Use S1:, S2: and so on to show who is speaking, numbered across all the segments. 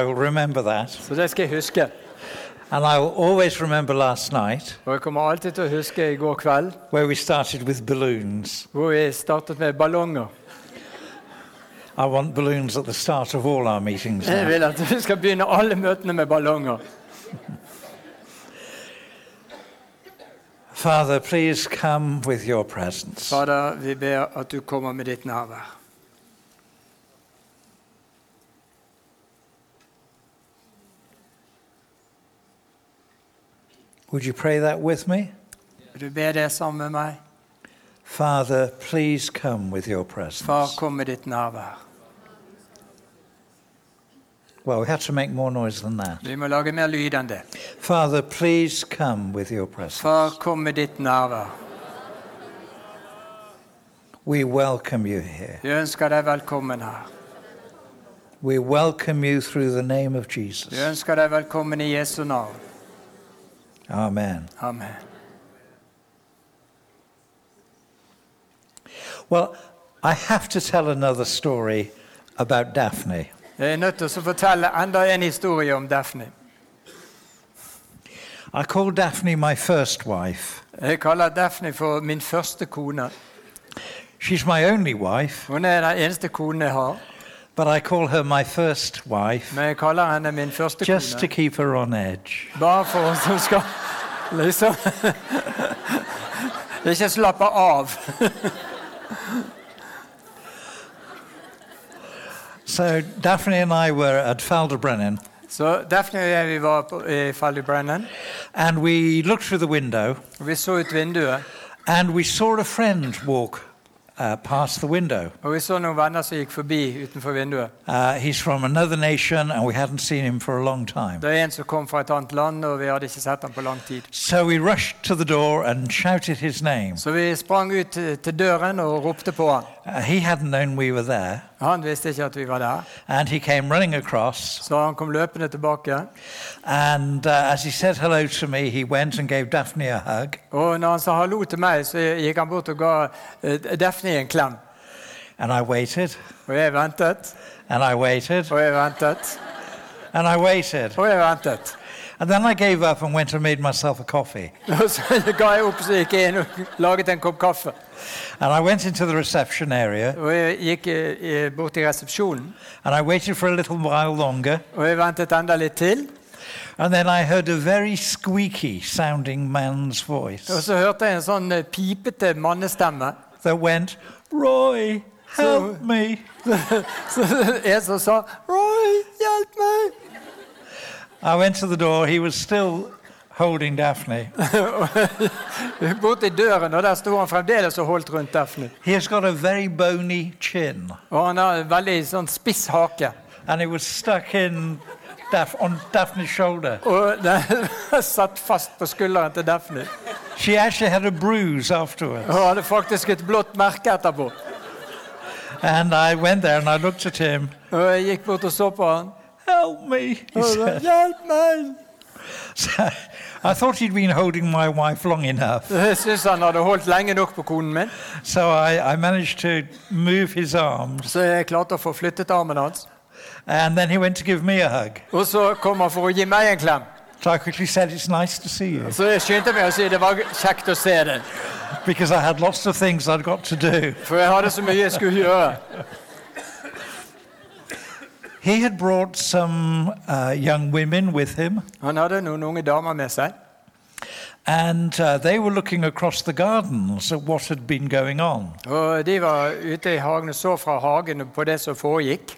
S1: I will remember that.
S2: Så det skal jeg huske.
S1: And I will always remember last night,
S2: Og jeg kommer alltid til å huske i går kveld,
S1: where we started with balloons.
S2: hvor vi startet med ballonger.
S1: I want balloons at the start of all our meetings
S2: Jeg
S1: now.
S2: vil at vi skal begynne alle møtene med ballonger.
S1: Father, please come with your presence.
S2: Fader, vi ber at du kommer med ditt nærvær.
S1: Would you pray that with me?
S2: Vil du be det sammen med meg?
S1: Father, please come with your
S2: Far,
S1: presence.
S2: kom med ditt nærvær.
S1: Well, we have to make more noise than that.
S2: Vi må lage mer lyd enn det.
S1: Father, please come with your presence.
S2: Far, kom med ditt nærvær.
S1: We welcome you here.
S2: Vi ønsker deg velkommen her.
S1: We welcome you through the name of
S2: Vi
S1: Jesus.
S2: ønsker deg velkommen i Jesu navn.
S1: Amen.
S2: Amen.
S1: Well, I have to tell another story about Daphne.
S2: Jeg er nødt til å fortelle enda en historie om Daphne.
S1: I call Daphne my first wife.
S2: Jeg kaller Daphne for min første kone.
S1: She's my only wife,
S2: Hun er den eneste konen jeg har,
S1: but I call her my first wife
S2: men jeg kaller henne min første
S1: just to
S2: kone.
S1: keep her on edge.
S2: Bare for oss som skal liksom Ikke slappe av.
S1: So Daphne and I were at Falderbrennen,
S2: Så Daphne og jeg vi var på, i Fallybrennen,
S1: and we looked through the window,
S2: og vi så ut vinduet.
S1: and we saw a friend walk uh, past the window.
S2: Og vi så noen venner som gikk forbi utenfor vinduet.
S1: Uh, he's from another nation, and we hadn't seen him for a long time.
S2: Det er en som kom fra et annet land, og vi hadde ikke sett ham på lang tid.
S1: So we rushed to the door and shouted his name.
S2: Så vi sprang ut til til døren og ropte på han.
S1: Uh, he hadn't known we were there,
S2: Han visste ikke at vi var der,
S1: and he came running across.
S2: så han kom løpende tilbake.
S1: And uh, as he said hello to me, he went and gave Daphne a hug.
S2: Og når han sa hallo til meg, så gikk han bort og ga eh, Daphne en klem.
S1: And I waited,
S2: Og jeg ventet,
S1: and I waited,
S2: og jeg ventet,
S1: and I waited.
S2: og jeg ventet.
S1: And then I gave up and went and made myself a coffee.
S2: Og så ga jeg opp, så gikk jeg inn og laget en kopp kaffe.
S1: And I went into the reception area,
S2: Og jeg gikk eh, eh, bort til resepsjonen,
S1: and I waited for a little while longer.
S2: og jeg ventet enda litt til.
S1: And then I heard a very squeaky sounding man's voice.
S2: Og så hørte jeg en sånn eh, pipete mannestemme.
S1: that went, Roy, help
S2: So-
S1: me.
S2: Så en som sa 'Roy, hjelp meg!'
S1: I went to the door. He was still holding Daphne.
S2: Bort til døren, og der sto han fremdeles og holdt rundt Daphne.
S1: He has got a very bony chin,
S2: Og han har en veldig sånn spiss hake.
S1: and it was stuck in Daph- on Daphne's shoulder.
S2: Og den satt fast på skulderen til Daphne.
S1: She actually had a bruise afterwards.
S2: Og hadde faktisk et blått merke etterpå.
S1: And I went there and I looked at him.
S2: Og jeg gikk bort og så på han.
S1: Help me, he
S2: Og jeg sa,
S1: said.
S2: 'Hjelp meg!'
S1: So I thought he'd been holding my wife long enough,
S2: Jeg syns han hadde holdt lenge nok på konen min,
S1: so I, I managed to move his arms,
S2: så jeg klarte å få flyttet armen hans.
S1: and then he went to give me a hug.
S2: Og så kom han for å gi meg en klem.
S1: So I quickly said, "It's nice to see you,"
S2: Så jeg skyndte meg å si 'Det var kjekt å se deg'.
S1: because I had lots of things I'd got to do.
S2: For jeg hadde så mye jeg skulle gjøre.
S1: He had brought some uh, young women with him,
S2: Han hadde noen unge damer med seg,
S1: and uh, they were looking across the gardens at what had been going on.
S2: og de var ute i hagen og så fra hagen på det som foregikk.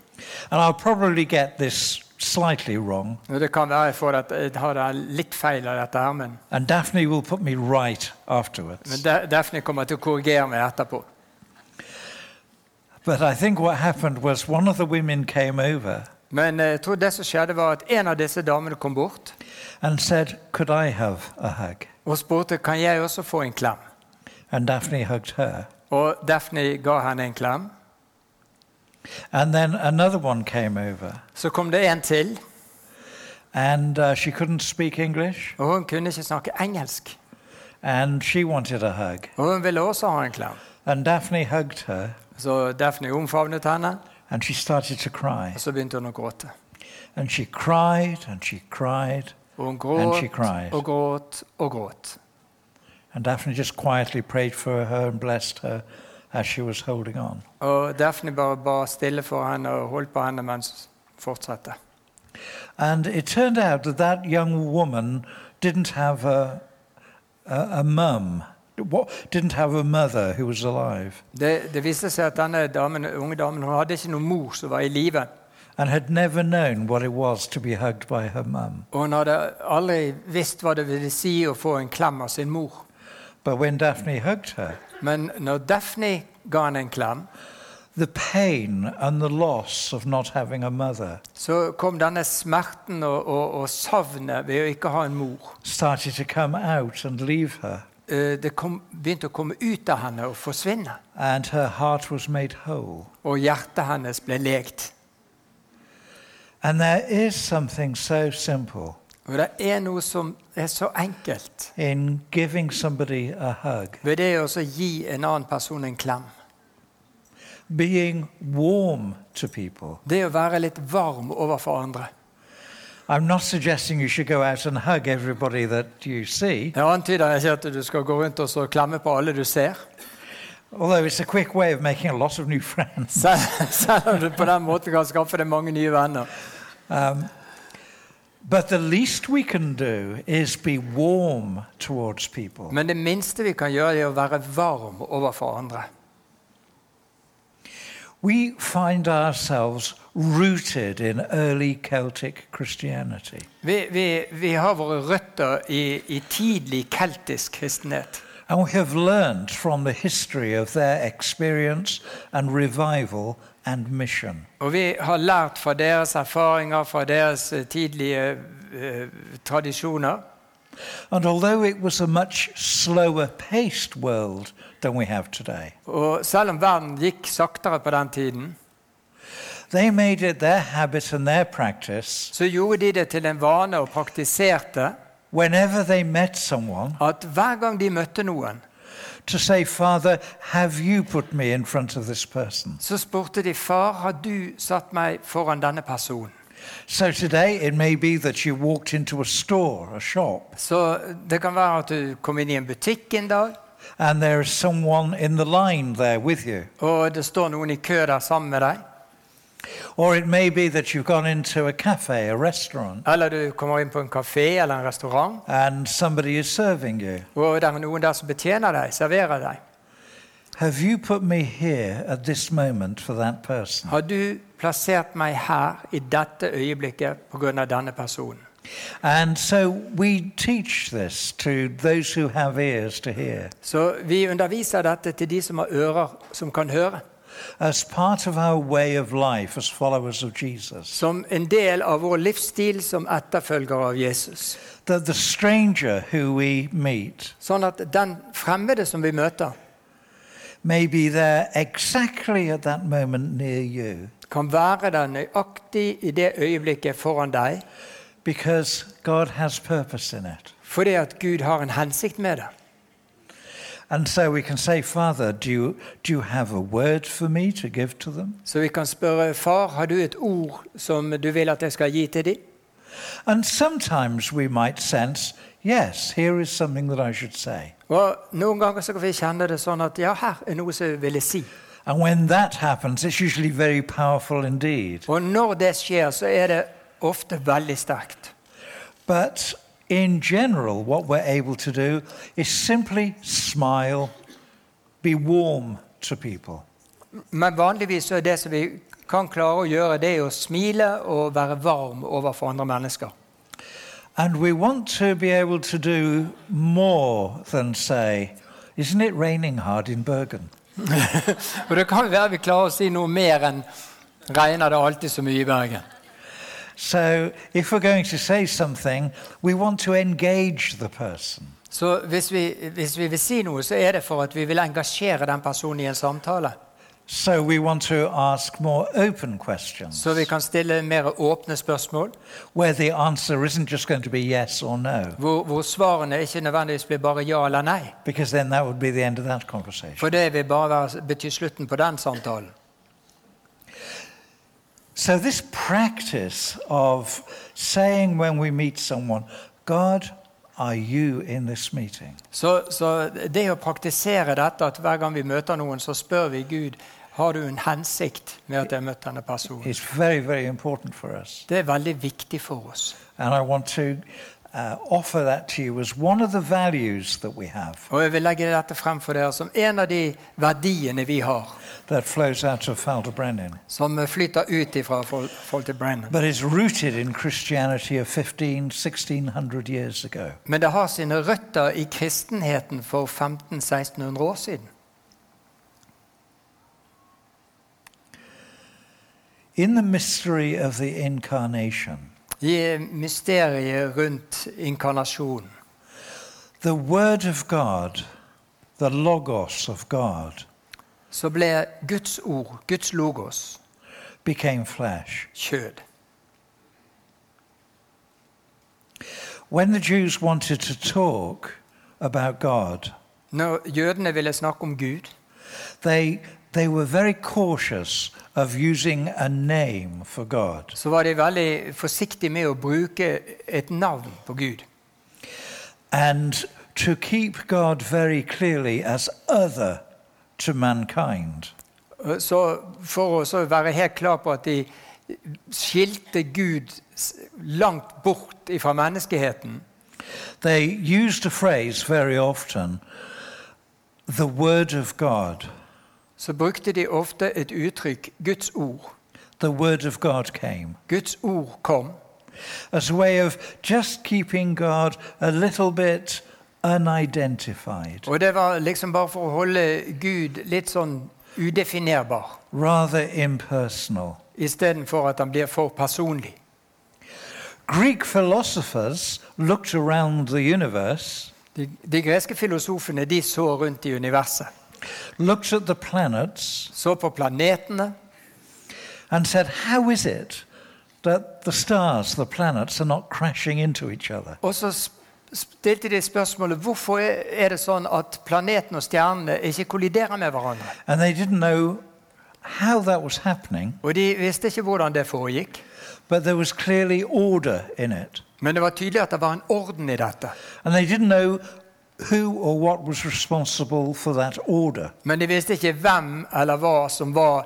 S1: And I'll probably get this slightly wrong,
S2: Og det kan være jeg får dette, jeg har det litt feil av dette her, men,
S1: and Daphne will put me right
S2: men
S1: afterwards.
S2: Da- Daphne kommer til å korrigere meg etterpå.
S1: But I think what happened was one of the women came over
S2: Men eh, jeg tror det som skjedde var at en av disse damene kom bort
S1: and said, Could I have a hug?
S2: og spurte kan jeg også få en klem.
S1: And Daphne hugged her.
S2: Og Daphne ga henne en klem.
S1: And then another one came over,
S2: Så kom det en til,
S1: and uh, she couldn't speak English,
S2: og hun kunne ikke snakke engelsk.
S1: and she wanted a hug.
S2: Og hun ville også ha en klem.
S1: And Daphne hugged her,
S2: Så Daphne omfavnet henne,
S1: and she started to cry.
S2: og så begynte hun å gråte.
S1: And she cried and she cried.
S2: Og hun
S1: And she
S2: gråt
S1: cried.
S2: og gråt og gråt.
S1: And Daphne just quietly prayed for her and blessed her as she was holding on.
S2: Og Daphne bare ba stille for henne og holdt på henne mens hun fortsatte.
S1: And it turned out that that young woman didn't have a, a, a mum, what, didn't have a mother who was alive,
S2: Det, det viste seg at denne damen, unge damen hun hadde ikke noen mor som var i live.
S1: and had never known what it was to be hugged by her mum.
S2: Og hun hadde aldri visst hva det ville si å få en klem av sin mor.
S1: But when Daphne hugged her,
S2: Men når Daphne ga henne en klem,
S1: the pain and the loss of not having a mother
S2: så kom denne smerten og, og, og savnet ved å ikke ha en mor.
S1: started to come out and leave her,
S2: Eh, Det kom, begynte å komme ut av henne og forsvinne.
S1: and her heart was made whole.
S2: Og hjertet hennes ble lekt.
S1: And there is something so simple
S2: Og det er noe som er så enkelt
S1: in giving somebody a hug,
S2: ved det å så gi en annen person en klem.
S1: being warm to people.
S2: Det å være litt varm overfor andre.
S1: I'm not suggesting you should go out and hug everybody that you see,
S2: Jeg antyder ikke at du skal gå rundt og så klemme på alle du ser,
S1: although it's a quick way of making a lot of new friends.
S2: selv, selv om du på den måten kan skaffe deg mange nye venner.
S1: But the least we can do is be warm towards people.
S2: Men det minste vi kan gjøre, er å være varm overfor andre.
S1: We find ourselves rooted in early Celtic Christianity.
S2: Vi, vi, vi har våre røtter i, i tidlig keltisk kristenhet.
S1: And we have learned from the history of their experience and revival and mission.
S2: Og vi har lært fra deres erfaringer, fra deres eh, tidlige eh, tradisjoner.
S1: And although it was a much slower paced world than we have today,
S2: Og selv om verden gikk saktere på den tiden,
S1: they made it their habit and their practice
S2: så gjorde de det til en vane og praktiserte
S1: whenever they met someone
S2: at hver gang de møtte noen,
S1: to say, Father, have you put me in front of this person?
S2: så spurte de far, har du satt meg foran denne personen?
S1: So today it may be that you walked into a store, a shop,
S2: Så det kan være at du kom inn i en butikk en dag,
S1: and there is someone in the line there with you.
S2: og det står noen i kø der sammen med deg.
S1: Or it may be that you've gone into a cafe, a restaurant,
S2: Eller du kommer inn på en kafé eller en restaurant,
S1: and somebody is serving you.
S2: og det er noen der som betjener deg, serverer deg.
S1: Have you put me here at this moment for that person?
S2: Har du plassert meg her i dette øyeblikket pga. denne personen?
S1: And so we teach this to those who have ears to hear
S2: Så vi underviser dette til de som har ører som kan høre.
S1: as part of our way of life as followers of Jesus.
S2: Som en del av vår livsstil som etterfølgere av Jesus.
S1: That the stranger who we meet
S2: Sånn at den fremmede som vi møter,
S1: may be there exactly at that moment near you
S2: kan være der nøyaktig i det øyeblikket foran deg,
S1: because God has purpose in it.
S2: fordi at Gud har en hensikt med det.
S1: And so we can say, Father, do you, do you have a word for me to give to them?
S2: Så vi kan spørre far, har du et ord som du vil at jeg skal gi til dem?
S1: And sometimes we might sense, yes, here is something that I should say.
S2: Og Noen ganger så kan vi kjenne det sånn at ja, her er noe som jeg ville si.
S1: And when that happens, it's usually very powerful indeed.
S2: Og når det skjer, så er det ofte veldig sterkt.
S1: But in general, what we're able to do is simply smile, be warm to people.
S2: Men vanligvis så er det som vi kan klare å gjøre, det er å smile og være varm overfor andre mennesker.
S1: And we want to be able to do more than say, isn't it raining hard in Bergen?
S2: Og det kan være vi klarer å si noe mer enn 'regner det alltid så mye i Bergen'.
S1: So if we're going to say something, we want to engage the person.
S2: Så hvis vi, hvis vi vil si noe, så er det for at vi vil engasjere den personen i en samtale.
S1: So we want to ask more open questions
S2: Så vi kan stille mer åpne spørsmål,
S1: where the answer isn't just going to be yes or no.
S2: hvor, hvor svarene ikke nødvendigvis blir bare ja eller nei.
S1: because then that would be the end of that conversation.
S2: For det vil bare være, bety slutten på den samtalen.
S1: So, this practice of saying when we meet someone, God, are you in this meeting?
S2: Så, så det å praktisere dette, at hver gang vi møter noen, så spør vi Gud har du en hensikt med at jeg har møtt denne personen.
S1: It's very, very important for us.
S2: Det er veldig viktig for oss.
S1: And I want to uh, offer that to you as one of the values that we have
S2: Og jeg vil legge dette frem for dere som en av de verdiene vi har,
S1: that flows out of Falderbrennan,
S2: som flyter ut ifra Fol- Folter Brennan.
S1: but is rooted in Christianity of 15, 1600 years ago.
S2: Men det har sine røtter i kristenheten for 1500-1600 år siden.
S1: In the mystery of the incarnation,
S2: I mysteriet rundt inkarnasjonen.
S1: the Word of God, the Logos of God,
S2: Så ble Guds ord, Guds logos,
S1: became flesh.
S2: kjød.
S1: When the Jews wanted to talk about God,
S2: Når jødene ville snakke om Gud,
S1: they, they were very cautious of using a name for God.
S2: så var de veldig forsiktige med å bruke et navn på Gud.
S1: And to keep God very clearly as other to mankind,
S2: Så for å så være helt klar på at de skilte Gud s- langt bort fra menneskeheten,
S1: they used a phrase very often the Word of God.
S2: så brukte de ofte et uttrykk Guds ord.
S1: The Word of God came
S2: Guds ord kom.
S1: as a way of just keeping God a little bit unidentified,
S2: Og det var liksom bare for å holde Gud litt sånn udefinerbar,
S1: rather impersonal.
S2: istedenfor at han blir for personlig.
S1: Greek philosophers looked around the universe,
S2: De, de greske filosofene de så rundt i universet.
S1: looked at the planets,
S2: Så på planetene.
S1: and said, How is it that the stars, the planets, are not crashing into each other?
S2: Og så sp- stilte de spørsmålet hvorfor er er det sånn at planetene og stjernene ikke kolliderer med hverandre.
S1: And they didn't know how that was happening,
S2: Og de visste ikke hvordan det foregikk.
S1: but there was clearly order in it.
S2: Men det var tydelig at det var en orden i dette.
S1: And they didn't know who or what was responsible for that order.
S2: Men de visste ikke hvem eller hva som var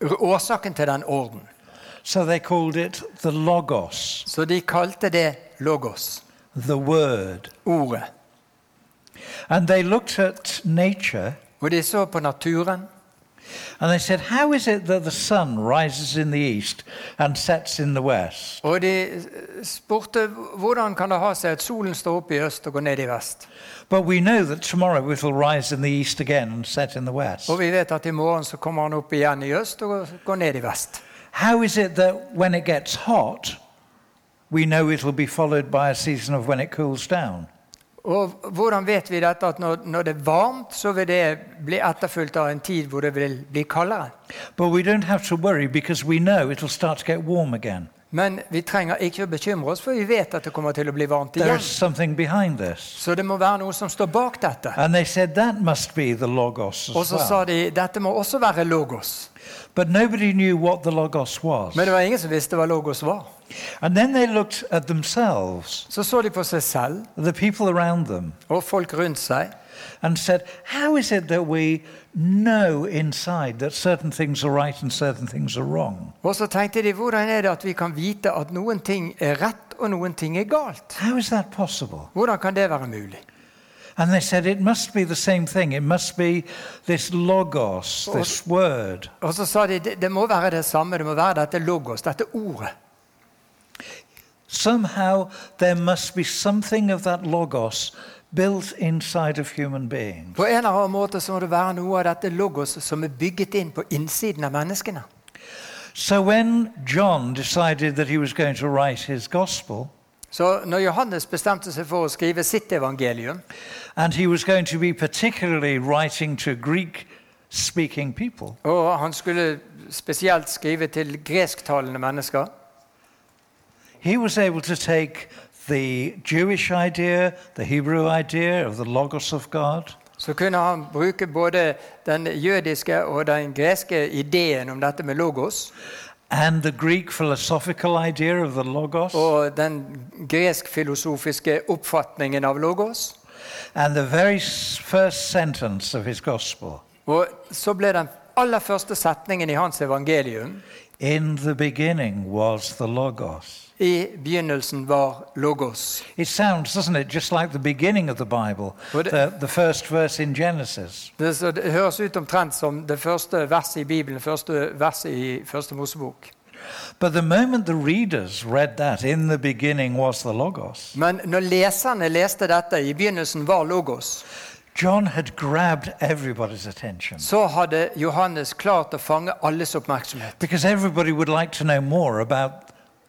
S2: r- årsaken til den orden.
S1: So they called it the Logos,
S2: Så de kalte det logos,
S1: the Word.
S2: ordet.
S1: And they looked at nature
S2: Og de så på naturen.
S1: and they said, How is it that the sun rises in the east and sets in the west?
S2: Og de eh, spurte hvordan kan det ha seg at solen står opp i øst og går ned i vest.
S1: But we know that tomorrow it will rise in the east again and set in the west.
S2: Og vi vet at i morgen så kommer han opp igjen i øst og går ned i vest.
S1: How is it that when it gets hot, we know it'll be followed by a season of when it cools down?
S2: Og hvordan vet vi dette at når, når det er varmt, så vil det bli etterfulgt av en tid hvor det vil bli kaldere?
S1: But we don't have to worry because we know it'll start to get warm again.
S2: Men vi trenger ikke å bekymre oss, for vi vet at det kommer til å bli varmt
S1: There
S2: igjen.
S1: is something behind this.
S2: Så det må være noe som står bak dette.
S1: And they said that must be the Logos
S2: Og
S1: as
S2: så sa
S1: well.
S2: de dette må også være logos.
S1: But nobody knew what the Logos was.
S2: Men det var ingen som visste hva logos var.
S1: And then they looked at themselves,
S2: Så så de på seg selv
S1: the people around them,
S2: og folk rundt seg.
S1: and said, How is it that we know inside that certain things are right and certain things are wrong?
S2: Og så tenkte de hvordan er det at vi kan vite at noen ting er rett og noen ting er galt?
S1: How is that possible?
S2: Hvordan kan det være mulig?
S1: And they said, it must be the same thing. It must be this logos, this word.
S2: Og så sa de det, det må være det samme, det må være dette logos, dette ordet.
S1: Somehow there must be something of that logos built inside of human beings.
S2: På en eller annen måte så må det være noe av dette logos som er bygget inn på innsiden av menneskene.
S1: So when John decided that he was going to write his gospel
S2: Så når Johannes bestemte seg for å skrive sitt evangelium,
S1: and he was going to be particularly writing to Greek speaking people,
S2: og han skulle spesielt skrive til gresktalende mennesker,
S1: he was able to take the Jewish idea, the Hebrew idea of the logos of God.
S2: så kunne han bruke både den jødiske og den greske ideen om dette med logos,
S1: and the Greek philosophical idea of the Logos,
S2: og den gresk-filosofiske oppfatningen av logos.
S1: and the very s- first sentence of his gospel.
S2: Og så ble den aller første setningen i hans evangelium
S1: In the beginning was the Logos.
S2: I begynnelsen var logos.
S1: It sounds, doesn't it, just like the beginning of the Bible,
S2: Would it-
S1: the, the first verse in Genesis.
S2: Det, så det høres ut omtrent som det første verset i Bibelen, første verset i Første Mosebok.
S1: But the moment the readers read that, in the beginning was the Logos,
S2: Men når leserne leste dette, i begynnelsen var logos,
S1: John had grabbed everybody's attention
S2: så hadde Johannes klart å fange alles oppmerksomhet.
S1: because everybody would like to know more about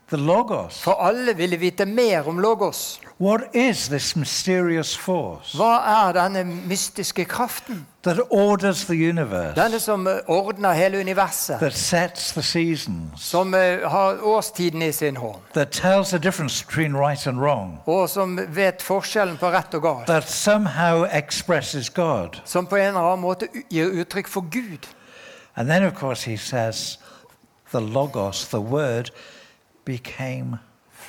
S1: the Logos.
S2: For alle ville vite mer om logos.
S1: What is this mysterious force
S2: Hva er denne mystiske kraften?
S1: that orders the universe,
S2: Denne som eh, ordner hele universet,
S1: that sets the seasons,
S2: som eh, har årstiden i sin hånd,
S1: that tells the difference between right and wrong,
S2: og som vet forskjellen på rett og galt,
S1: that somehow expresses God?
S2: som på en eller annen måte u- gir uttrykk for Gud.
S1: And then, of course, he says, the Logos, the Word, became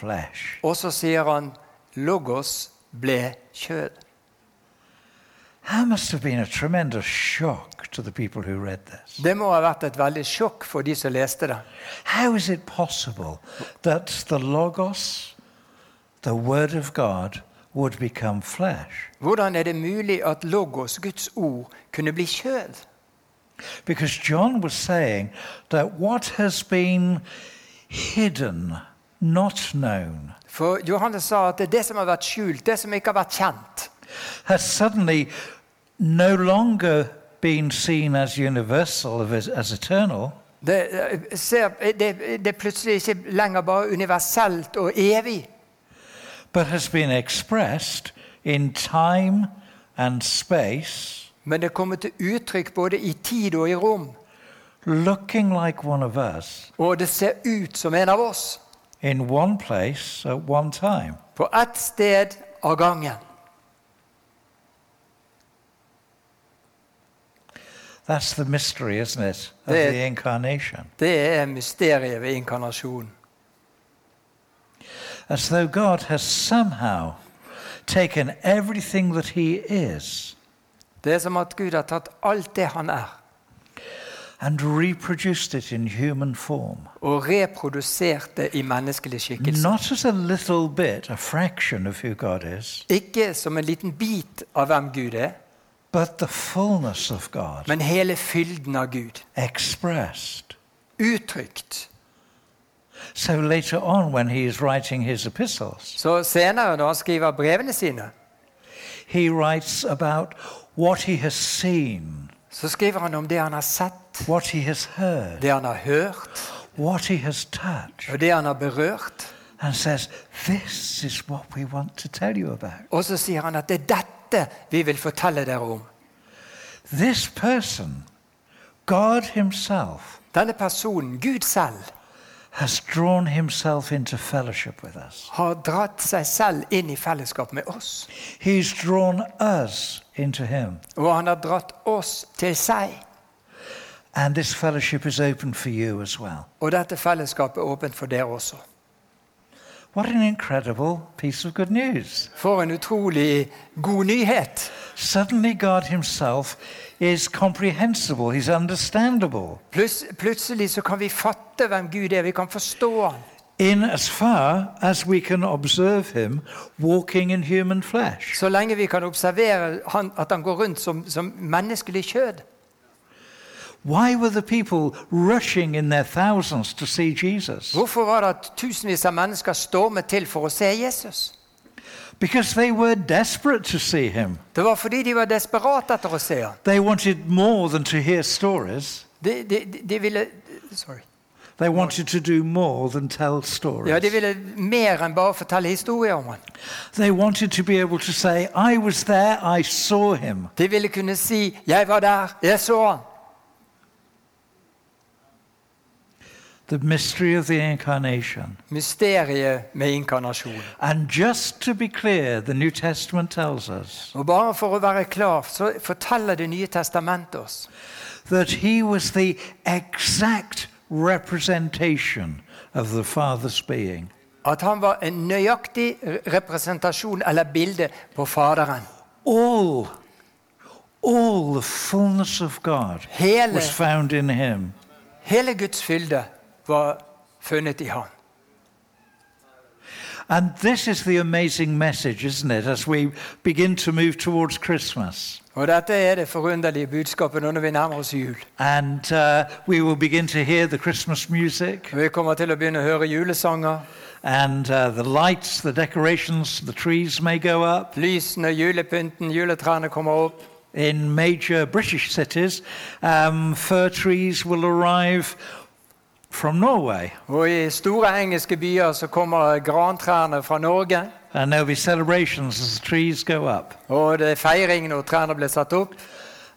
S1: flesh.
S2: Og så sier han Logos ble kjød.
S1: That must have been a tremendous shock to the people who read this.
S2: Det må ha vært et veldig sjokk for de som leste det.
S1: How is it possible that the Logos, the Word of God, would become flesh?
S2: Hvordan er det mulig at Logos, Guds ord, kunne bli kjød?
S1: Because John was saying that what has been hidden, not known,
S2: For Johannes sa at det er det som har vært skjult, det som ikke har vært kjent,
S1: has suddenly no longer been seen as universal, as as eternal,
S2: det, eh, ser, det, det er plutselig ikke lenger bare universelt og evig,
S1: but has been expressed in time and space,
S2: men det kommer til uttrykk både i tid og i rom.
S1: looking like one of us
S2: Og det ser ut som en av oss,
S1: in one place at one time.
S2: på ett sted av gangen.
S1: That's the mystery, isn't it, of
S2: Yeah.
S1: the incarnation.
S2: Det er mysteriet ved inkarnasjonen.
S1: As though God has somehow taken everything that He is
S2: Det er som at Gud har tatt alt det han er,
S1: and reproduced it in human form.
S2: og reprodusert det i menneskelig skikkelse.
S1: Not as a little bit, a fraction of who God is,
S2: Ikke som en liten bit av hvem Gud er,
S1: but the fullness of God
S2: men hele fylden av Gud.
S1: expressed.
S2: Uttrykt.
S1: So later on, when he is writing his epistles,
S2: Så senere, når han skriver brevene sine,
S1: he writes about what he has seen,
S2: så skriver han om det han har sett,
S1: what he has heard,
S2: det han har hørt,
S1: what he has touched,
S2: og det han har berørt.
S1: and says, This is what we want to tell you about.
S2: Og så sier han at det er dette vi vil fortelle dere om.
S1: This person, God Himself,
S2: Denne personen, Gud selv,
S1: has drawn Himself into fellowship with us.
S2: har dratt seg selv inn i fellesskap med oss.
S1: He's drawn us into Him,
S2: Og han har dratt oss til seg.
S1: and this fellowship is open for you as well.
S2: Og dette fellesskapet er åpent for dere også.
S1: What an incredible piece of good news!
S2: For en utrolig god nyhet!
S1: Suddenly, God Himself is comprehensible, He's understandable,
S2: Plus, plutselig så kan vi fatte hvem Gud er. Vi kan forstå ham.
S1: in as far as we can observe Him walking in human flesh.
S2: Så lenge vi kan observere han, at han går rundt som, som menneskelig kjød.
S1: Why were the people rushing in their thousands to see Jesus?
S2: Hvorfor var det at tusenvis av mennesker stormet til for å se Jesus?
S1: Because they were desperate to see Him.
S2: Det var fordi de var desperate etter å se ham.
S1: They wanted more than to hear stories.
S2: De, de, de, de ville Sorry.
S1: They wanted to do more than tell
S2: Ja, de
S1: stories.
S2: ville mer enn bare fortelle historier om ham.
S1: They wanted to be able to say, I was there, I saw him.
S2: De ville kunne si 'Jeg var der. Jeg så ham'.
S1: The mystery of the incarnation.
S2: Mysteriet med inkarnasjonen.
S1: And just to be clear, the New Testament tells us
S2: Og bare for å være klar, så forteller Det nye testamentet oss
S1: that he was the exact representation of the Father's being.
S2: At han var en nøyaktig representasjon eller bilde på Faderen.
S1: All, all the fullness of God
S2: Hele,
S1: was found in him.
S2: hele Guds fylde var funnet i han.
S1: And this is the amazing message, isn't it, as we begin to move towards Christmas.
S2: Og Dette er det forunderlige budskapet nå når vi nærmer oss jul.
S1: And uh, we will begin to hear the Christmas music
S2: Vi kommer til å begynne å høre julesanger.
S1: and uh, the lights, the decorations, the trees may go up.
S2: Lysene, julepynten, juletrærne kommer opp.
S1: In major British cities, um, fir trees will arrive from Norway
S2: Og i store engelske byer så kommer grantrærne fra Norge.
S1: and there'll be celebrations as the trees go up.
S2: Og det er feiring når trærne blir satt opp.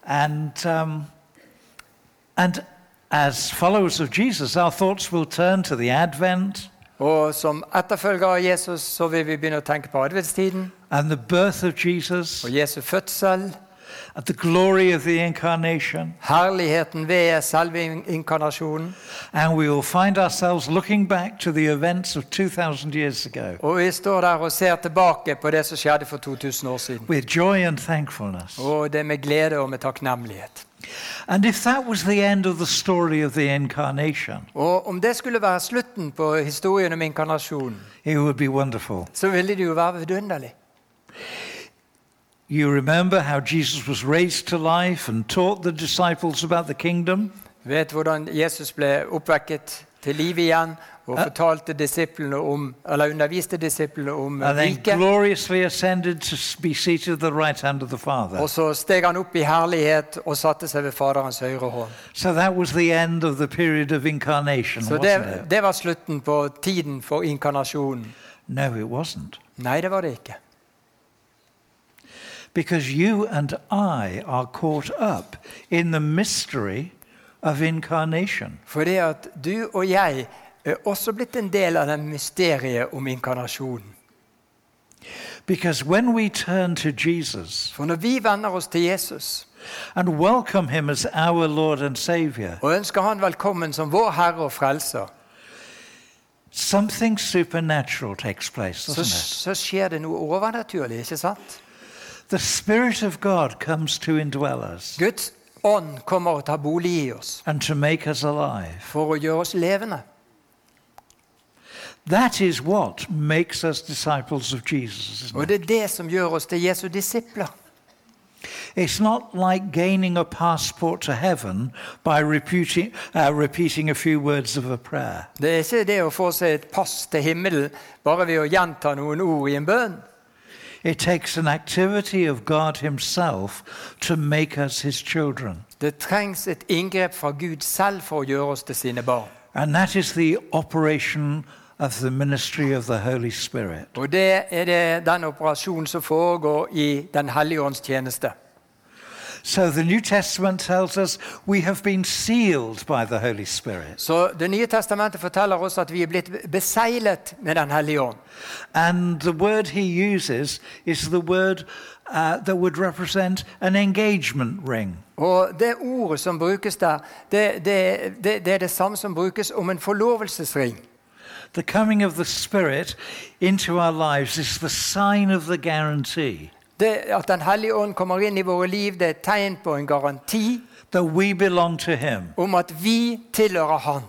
S1: And, um, and as followers of Jesus, our thoughts will turn to the Advent
S2: Og som etterfølger av Jesus så vil vi begynne å tenke på adventstiden
S1: and the birth of Jesus,
S2: og Jesu fødsel.
S1: at the glory of the Incarnation.
S2: Herligheten ved selve in- inkarnasjonen.
S1: And we will find ourselves looking back to the events of 2,000 years ago
S2: Og vi står der og ser tilbake på det som skjedde for 2000 år siden.
S1: with joy and thankfulness.
S2: Og det er med glede og med takknemlighet.
S1: And if that was the end of the story of the incarnation,
S2: Og om det skulle være slutten på historien om inkarnasjonen,
S1: it would be wonderful.
S2: så ville det jo være vidunderlig.
S1: You remember how Jesus was raised to life and taught the disciples about the kingdom?
S2: Vet hvordan Jesus ble oppvekket til liv igjen og fortalte disiplene om, eller underviste disiplene om
S1: And then
S2: riket.
S1: gloriously ascended to s- be seated at the right hand of the Father.
S2: Og så steg han opp i herlighet og satte seg ved Faderens høyre hånd.
S1: So that was the end of the period of incarnation,
S2: Så
S1: wasn't
S2: det,
S1: it?
S2: det var slutten på tiden for inkarnasjonen.
S1: No, it wasn't.
S2: Nei, det var det ikke.
S1: Because you and I are caught up in the mystery of incarnation.
S2: Fordi at du og jeg er også blitt en del av det mysteriet om inkarnasjonen.
S1: Because when we turn to Jesus
S2: For når vi venner oss til Jesus
S1: and welcome him as our Lord and Savior,
S2: og ønsker Han velkommen som vår Herre og Frelser,
S1: something supernatural takes place,
S2: så,
S1: doesn't
S2: så skjer det noe overnaturlig, ikke sant?
S1: it? The Spirit of God comes to indwell us
S2: Guds ånd kommer og tar bolig i oss
S1: and to make us alive.
S2: for å gjøre oss levende.
S1: That is what makes us disciples of Jesus. isn't it?
S2: Og det er det som gjør oss til Jesu disipler.
S1: It's not like gaining a passport to heaven by repeating, uh, repeating a few words of a prayer.
S2: Det er ikke det å få seg et pass til himmelen bare ved å gjenta noen ord i en bønn.
S1: It takes an activity of God Himself to make us His children.
S2: Det trengs et inngrep fra Gud selv for å gjøre oss til sine barn.
S1: And that is the operation of the ministry of the Holy Spirit.
S2: Og det er det, den operasjonen som foregår i Den hellige ånds tjeneste.
S1: So the New Testament tells us we have been sealed by the Holy Spirit.
S2: Så Det nye testamentet forteller oss at vi er blitt beseglet med Den hellige ånd.
S1: And the word He uses is the word uh, that would represent an engagement ring.
S2: Og Det ordet som brukes der, det, det, det, det er det samme som brukes om en forlovelsesring.
S1: The coming of the Spirit into our lives is the sign of the guarantee
S2: Det At Den hellige ånd kommer inn i våre liv, det er et tegn på en garanti
S1: that we belong to Him.
S2: om at vi tilhører Han.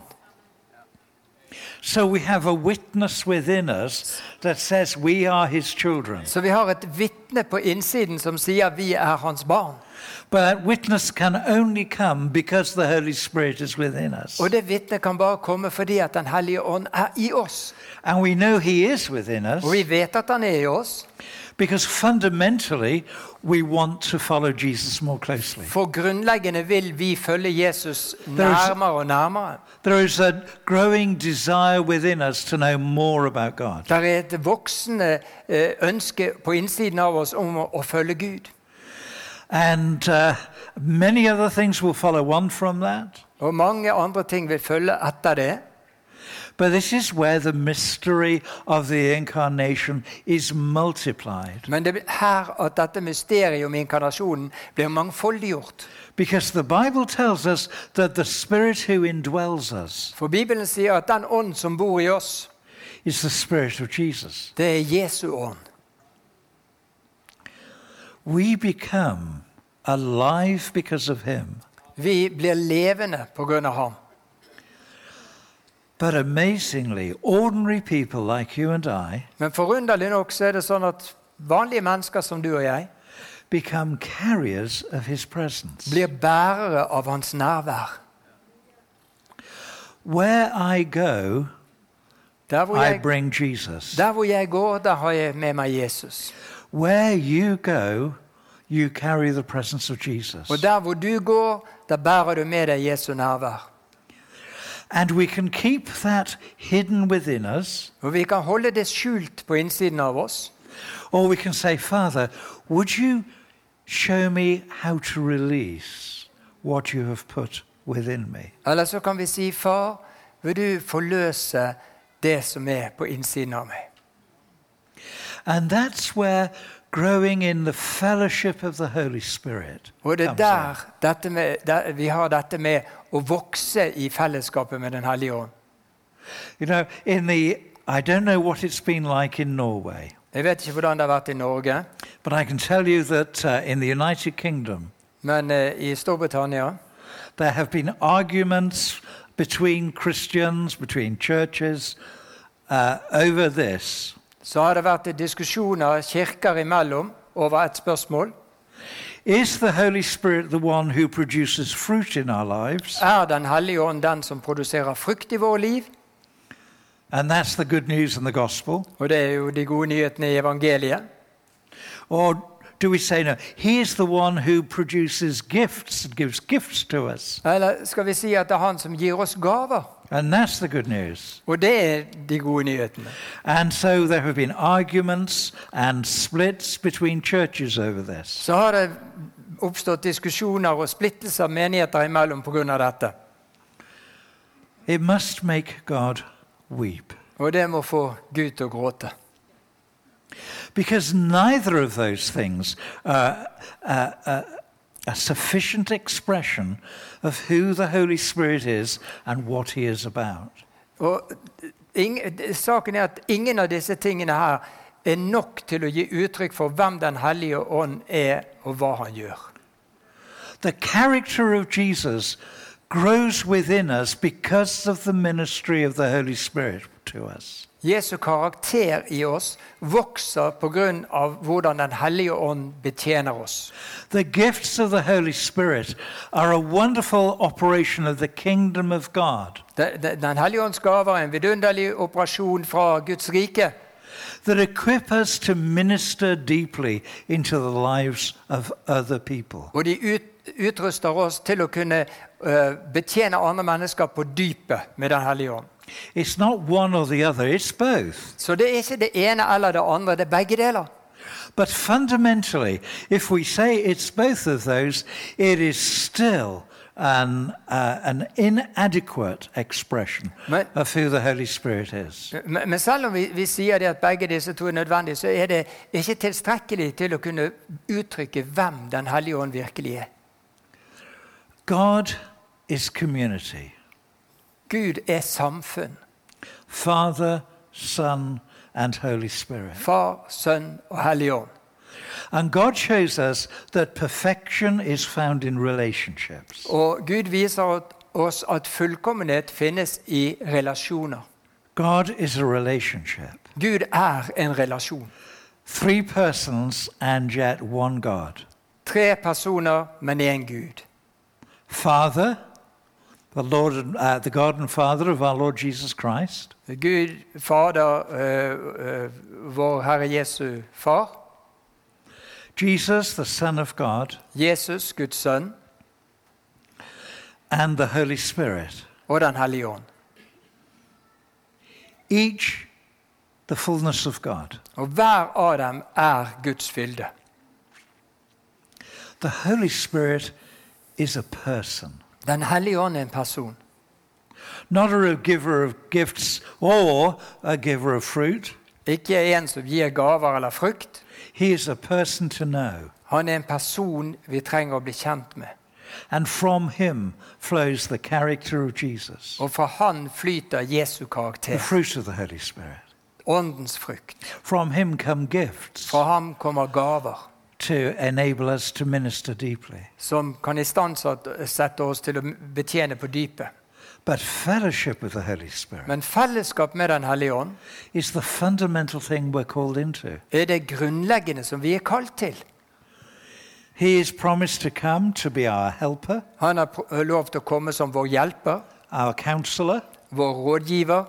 S1: So we have a witness within us that says we are his children.
S2: Så vi har et vitne på innsiden som sier vi er Hans barn.
S1: But that witness can only come because the Holy Spirit is within us.
S2: Og det vitnet kan bare komme fordi at Den hellige ånd er i oss.
S1: And we know he is within us
S2: Og vi vet at han er i oss,
S1: because fundamentally we want to follow Jesus more closely.
S2: for grunnleggende vil vi følge Jesus
S1: er jo så-
S2: nærmere og nærmere.
S1: There is a growing desire within us to know more about God.
S2: Det er et voksende eh, ønske på innsiden av oss om å, å følge Gud.
S1: And uh, many other things will follow on from that.
S2: Og mange andre ting vil følge etter det.
S1: But this is where the mystery of the incarnation is multiplied
S2: Men det er her at dette mysteriet om inkarnasjonen blir mangfoldiggjort.
S1: because the Bible tells us that the Spirit who indwells us
S2: For Bibelen sier at den ånd som bor i oss,
S1: is the Spirit of Jesus.
S2: det er Jesu ånd.
S1: We become alive because of Him.
S2: Vi blir levende pga. ham.
S1: But amazingly, ordinary people like you and I
S2: Men forunderlig nok så er det sånn at vanlige mennesker som du og jeg
S1: become carriers of His presence.
S2: blir bærere av hans nærvær.
S1: Where I go,
S2: Der hvor
S1: I
S2: jeg,
S1: bring Jesus.
S2: der hvor jeg går, der har jeg med meg Jesus.
S1: Where you go, you carry the presence of Jesus.
S2: Og der hvor du går, der bærer du med deg Jesu nærvær.
S1: And we can keep that hidden within us,
S2: Og vi kan holde det skjult på innsiden av oss.
S1: or we can say, Father, would you show me how to release what you have put within me?
S2: Eller så kan vi si, far, vil du forløse det som er på innsiden av meg?
S1: And that's where growing in the fellowship of the Holy Spirit.
S2: Og det er
S1: comes in.
S2: der, dette med, der vi har dette med å vokse i fellesskapet med Den hellige ånd.
S1: You know, in the I don't know what it's been like in Norway,
S2: Jeg vet ikke hvordan det har vært i Norge,
S1: but I can tell you that uh, in the United Kingdom
S2: men eh, i Storbritannia
S1: there have been arguments between Christians, between churches, uh, over this.
S2: så har det vært diskusjoner kirker imellom over et spørsmål.
S1: Is the Holy Spirit the one who produces fruit in our lives?
S2: Er Den hellige ånd den som produserer frukt i vårt liv?
S1: And that's the good news in the gospel.
S2: Og det er jo de gode nyhetene i evangeliet.
S1: Or do we say no? He is the one who produces gifts and gives gifts to us.
S2: Eller skal vi si at det er han som gir oss gaver?
S1: And that's the good news.
S2: Og det er de gode nyhetene.
S1: And so there have been arguments and splits between churches over this.
S2: Så har det oppstått diskusjoner og splittelser menigheter imellom pga. dette.
S1: It must make God weep
S2: Og det må få Gud til å gråte.
S1: because neither of those things are uh, uh, a sufficient expression of who the Holy Spirit is and what he is about.
S2: Og ing, saken er at ingen av disse tingene her er nok til å gi uttrykk for hvem Den hellige ånd er, og hva han gjør.
S1: The character of Jesus grows within us because of the ministry of the Holy Spirit to us.
S2: Jesu karakter i oss vokser pga. hvordan Den hellige ånd betjener oss.
S1: The gifts of the Holy Spirit are a wonderful operation of the kingdom of God
S2: Den Den hellige ånds gaver er en vidunderlig operasjon fra Guds rike.
S1: that equip us to minister deeply into the lives of other people.
S2: Og de ut, utruster oss til å kunne eh, betjene andre mennesker på dypet med Den hellige ånd.
S1: It's not one or the other, it's both.
S2: Så det er ikke det ene eller det andre, det er begge deler.
S1: But fundamentally, if we say it's both of those, it is still an, uh, an inadequate expression
S2: Men-
S1: of who the Holy Spirit is.
S2: Eh, Men, men selv om vi, vi sier det at begge disse to er nødvendige, så er det ikke tilstrekkelig til å kunne uttrykke hvem Den hellige ånd virkelig er.
S1: God is community
S2: Gud er samfunn.
S1: Father, Son, and Holy Spirit.
S2: Far, Sønn og Hellig Ånd.
S1: And God shows us that perfection is found in relationships.
S2: Og Gud viser at- oss at fullkommenhet finnes i relasjoner.
S1: God is a relationship.
S2: Gud er en relasjon.
S1: Three persons and yet one God.
S2: Tre personer, men én Gud.
S1: Father, the Lord, and- uh, the God and Father of our Lord Jesus Christ.
S2: Gud Fader, eh, eh, vår Herre Jesu Far.
S1: Jesus, the Son of God,
S2: Jesus, Guds sønn,
S1: and the Holy Spirit.
S2: og Den hellige ånd.
S1: Each the fullness of God.
S2: Og hver av dem er Guds fylde.
S1: The Holy Spirit is a person.
S2: Den hellige ånd er en person.
S1: not a giver of gifts or a giver of fruit.
S2: Ikke en som gir gaver eller frukt.
S1: He is a person to know,
S2: Han er en person vi trenger å bli kjent med.
S1: and from him flows the character of Jesus,
S2: Og fra han flyter Jesu
S1: the
S2: karakter,
S1: fruit of the Holy Spirit.
S2: åndens frukt.
S1: From him come gifts
S2: Fra ham kommer gaver
S1: to enable us to minister deeply.
S2: som kan istandsette oss til å betjene på dypet.
S1: But fellowship with the Holy Spirit
S2: Men fellesskap med Den hellige ånd
S1: is the fundamental thing we're called into.
S2: er det grunnleggende som vi er kalt til.
S1: He is promised to come to be our helper,
S2: Han har pr- lov til å komme som vår hjelper,
S1: our counselor,
S2: vår rådgiver,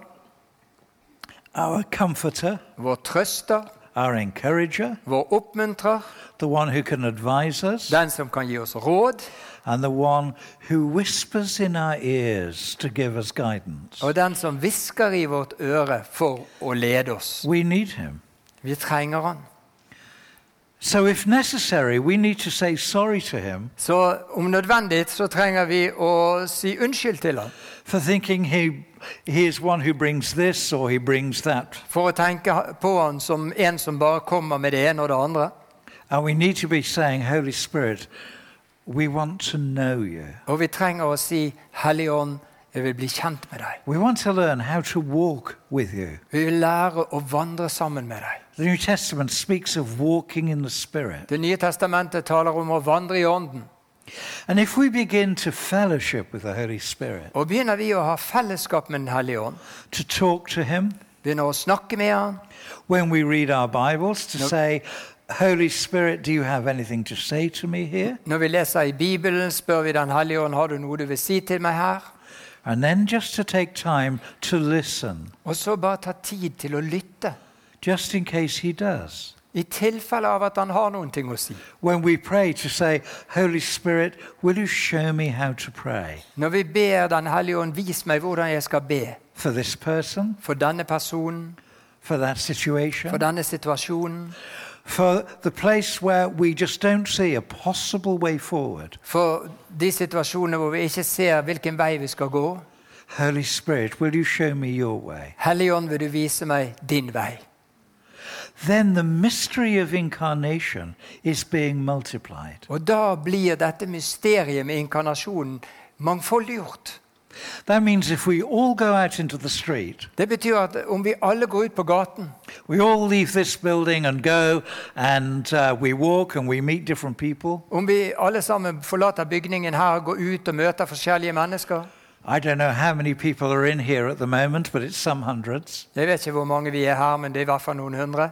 S1: our comforter,
S2: vår trøster,
S1: our encourager,
S2: vår oppmuntrer,
S1: the one who can advise us,
S2: den som kan gi oss råd,
S1: and the one who whispers in our ears to give us guidance.
S2: og den som hvisker i vårt øre for å lede oss.
S1: We need him.
S2: Vi trenger han.
S1: So, if necessary, we need to say sorry to him
S2: Så om nødvendig så trenger vi å si unnskyld til han
S1: for thinking he, he is one who brings this or he brings that.
S2: for å tenke på han som en som bare kommer med det ene og det andre.
S1: And we need to be saying, Holy Spirit, we want to know you.
S2: Og vi trenger å si 'Hellige ånd, jeg vil bli kjent med deg'.
S1: We want to learn how to walk with you.
S2: Vi vil lære å vandre sammen med deg.
S1: The New Testament speaks of walking in the Spirit.
S2: Det nye testamentet taler om å vandre i ånden.
S1: And if we begin to fellowship with the Holy Spirit,
S2: Og begynner vi å ha fellesskap med Den hellige ånd,
S1: to talk to Him,
S2: begynner å snakke med han,
S1: when we read our Bibles, to
S2: Nope.
S1: say, Holy Spirit, do you have anything to say to me here?
S2: når vi leser i Bibelen, spør vi Den hellige ånd 'Har du noe du vil si til meg her?'
S1: And then just to take time to listen,
S2: Og så bare ta tid til å lytte.
S1: just in case He does.
S2: I tilfelle av at han har noen ting å si.
S1: When we pray, to say, Holy Spirit, will you show me how to pray
S2: Når vi ber Den hellige ånd, vis meg hvordan jeg skal be.
S1: for this person,
S2: For denne personen,
S1: for that situation?
S2: for denne situasjonen,
S1: for the place where we just don't see a possible way forward.
S2: for de situasjonene hvor vi ikke ser hvilken vei vi skal gå.
S1: Holy Spirit, will you show me your way?
S2: Hellige ånd, vil du vise meg din vei?
S1: Then the mystery of incarnation is being multiplied.
S2: Og da blir dette mysteriet med inkarnasjonen mangfoldiggjort.
S1: That means if we all go out into the street,
S2: Det betyr at om vi alle går ut på gaten,
S1: we all leave this building and go and uh, we walk and we meet different people.
S2: om vi alle sammen forlater bygningen her, går ut og møter forskjellige mennesker
S1: I don't know how many people are in here at the moment, but it's some hundreds.
S2: Jeg vet ikke hvor mange vi er her, men det er i hvert fall noen hundre.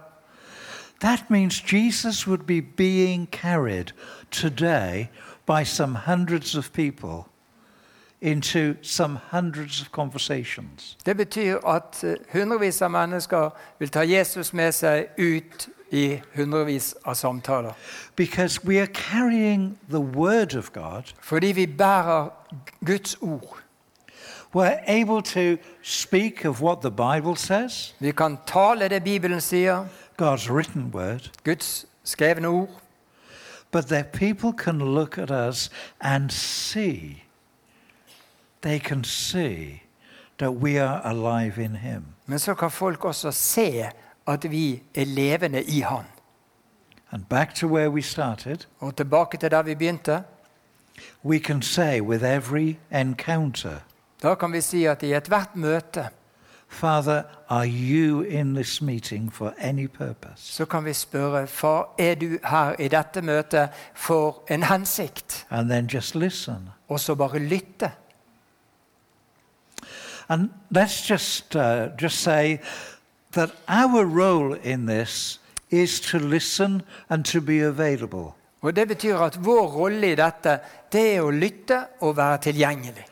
S1: That means Jesus would be being carried today by some hundreds of people into some hundreds of conversations.
S2: Det betyr at eh, hundrevis av mennesker vil ta Jesus med seg ut i hundrevis av samtaler.
S1: Because we are carrying the Word of God,
S2: Fordi vi bærer Guds ord.
S1: we're able to speak of what the Bible says,
S2: Vi kan tale det Bibelen sier,
S1: God's written Word,
S2: Guds skrevne ord.
S1: but that people can look at us and see. They can see that we are alive in Him.
S2: Men så kan folk også se at vi er levende i Han.
S1: And back to where we started.
S2: Og tilbake til der vi begynte.
S1: we can say with every encounter,
S2: Da kan vi si at i ethvert møte
S1: Father, are you in this meeting for any purpose?
S2: så kan vi spørre Far, er du her i dette møtet for en hensikt?
S1: And then just listen.
S2: Og så bare lytte.
S1: And let's just, uh, just say that our role in this is to listen and to be available.
S2: Og Det betyr at vår rolle i dette det er å lytte og være tilgjengelig.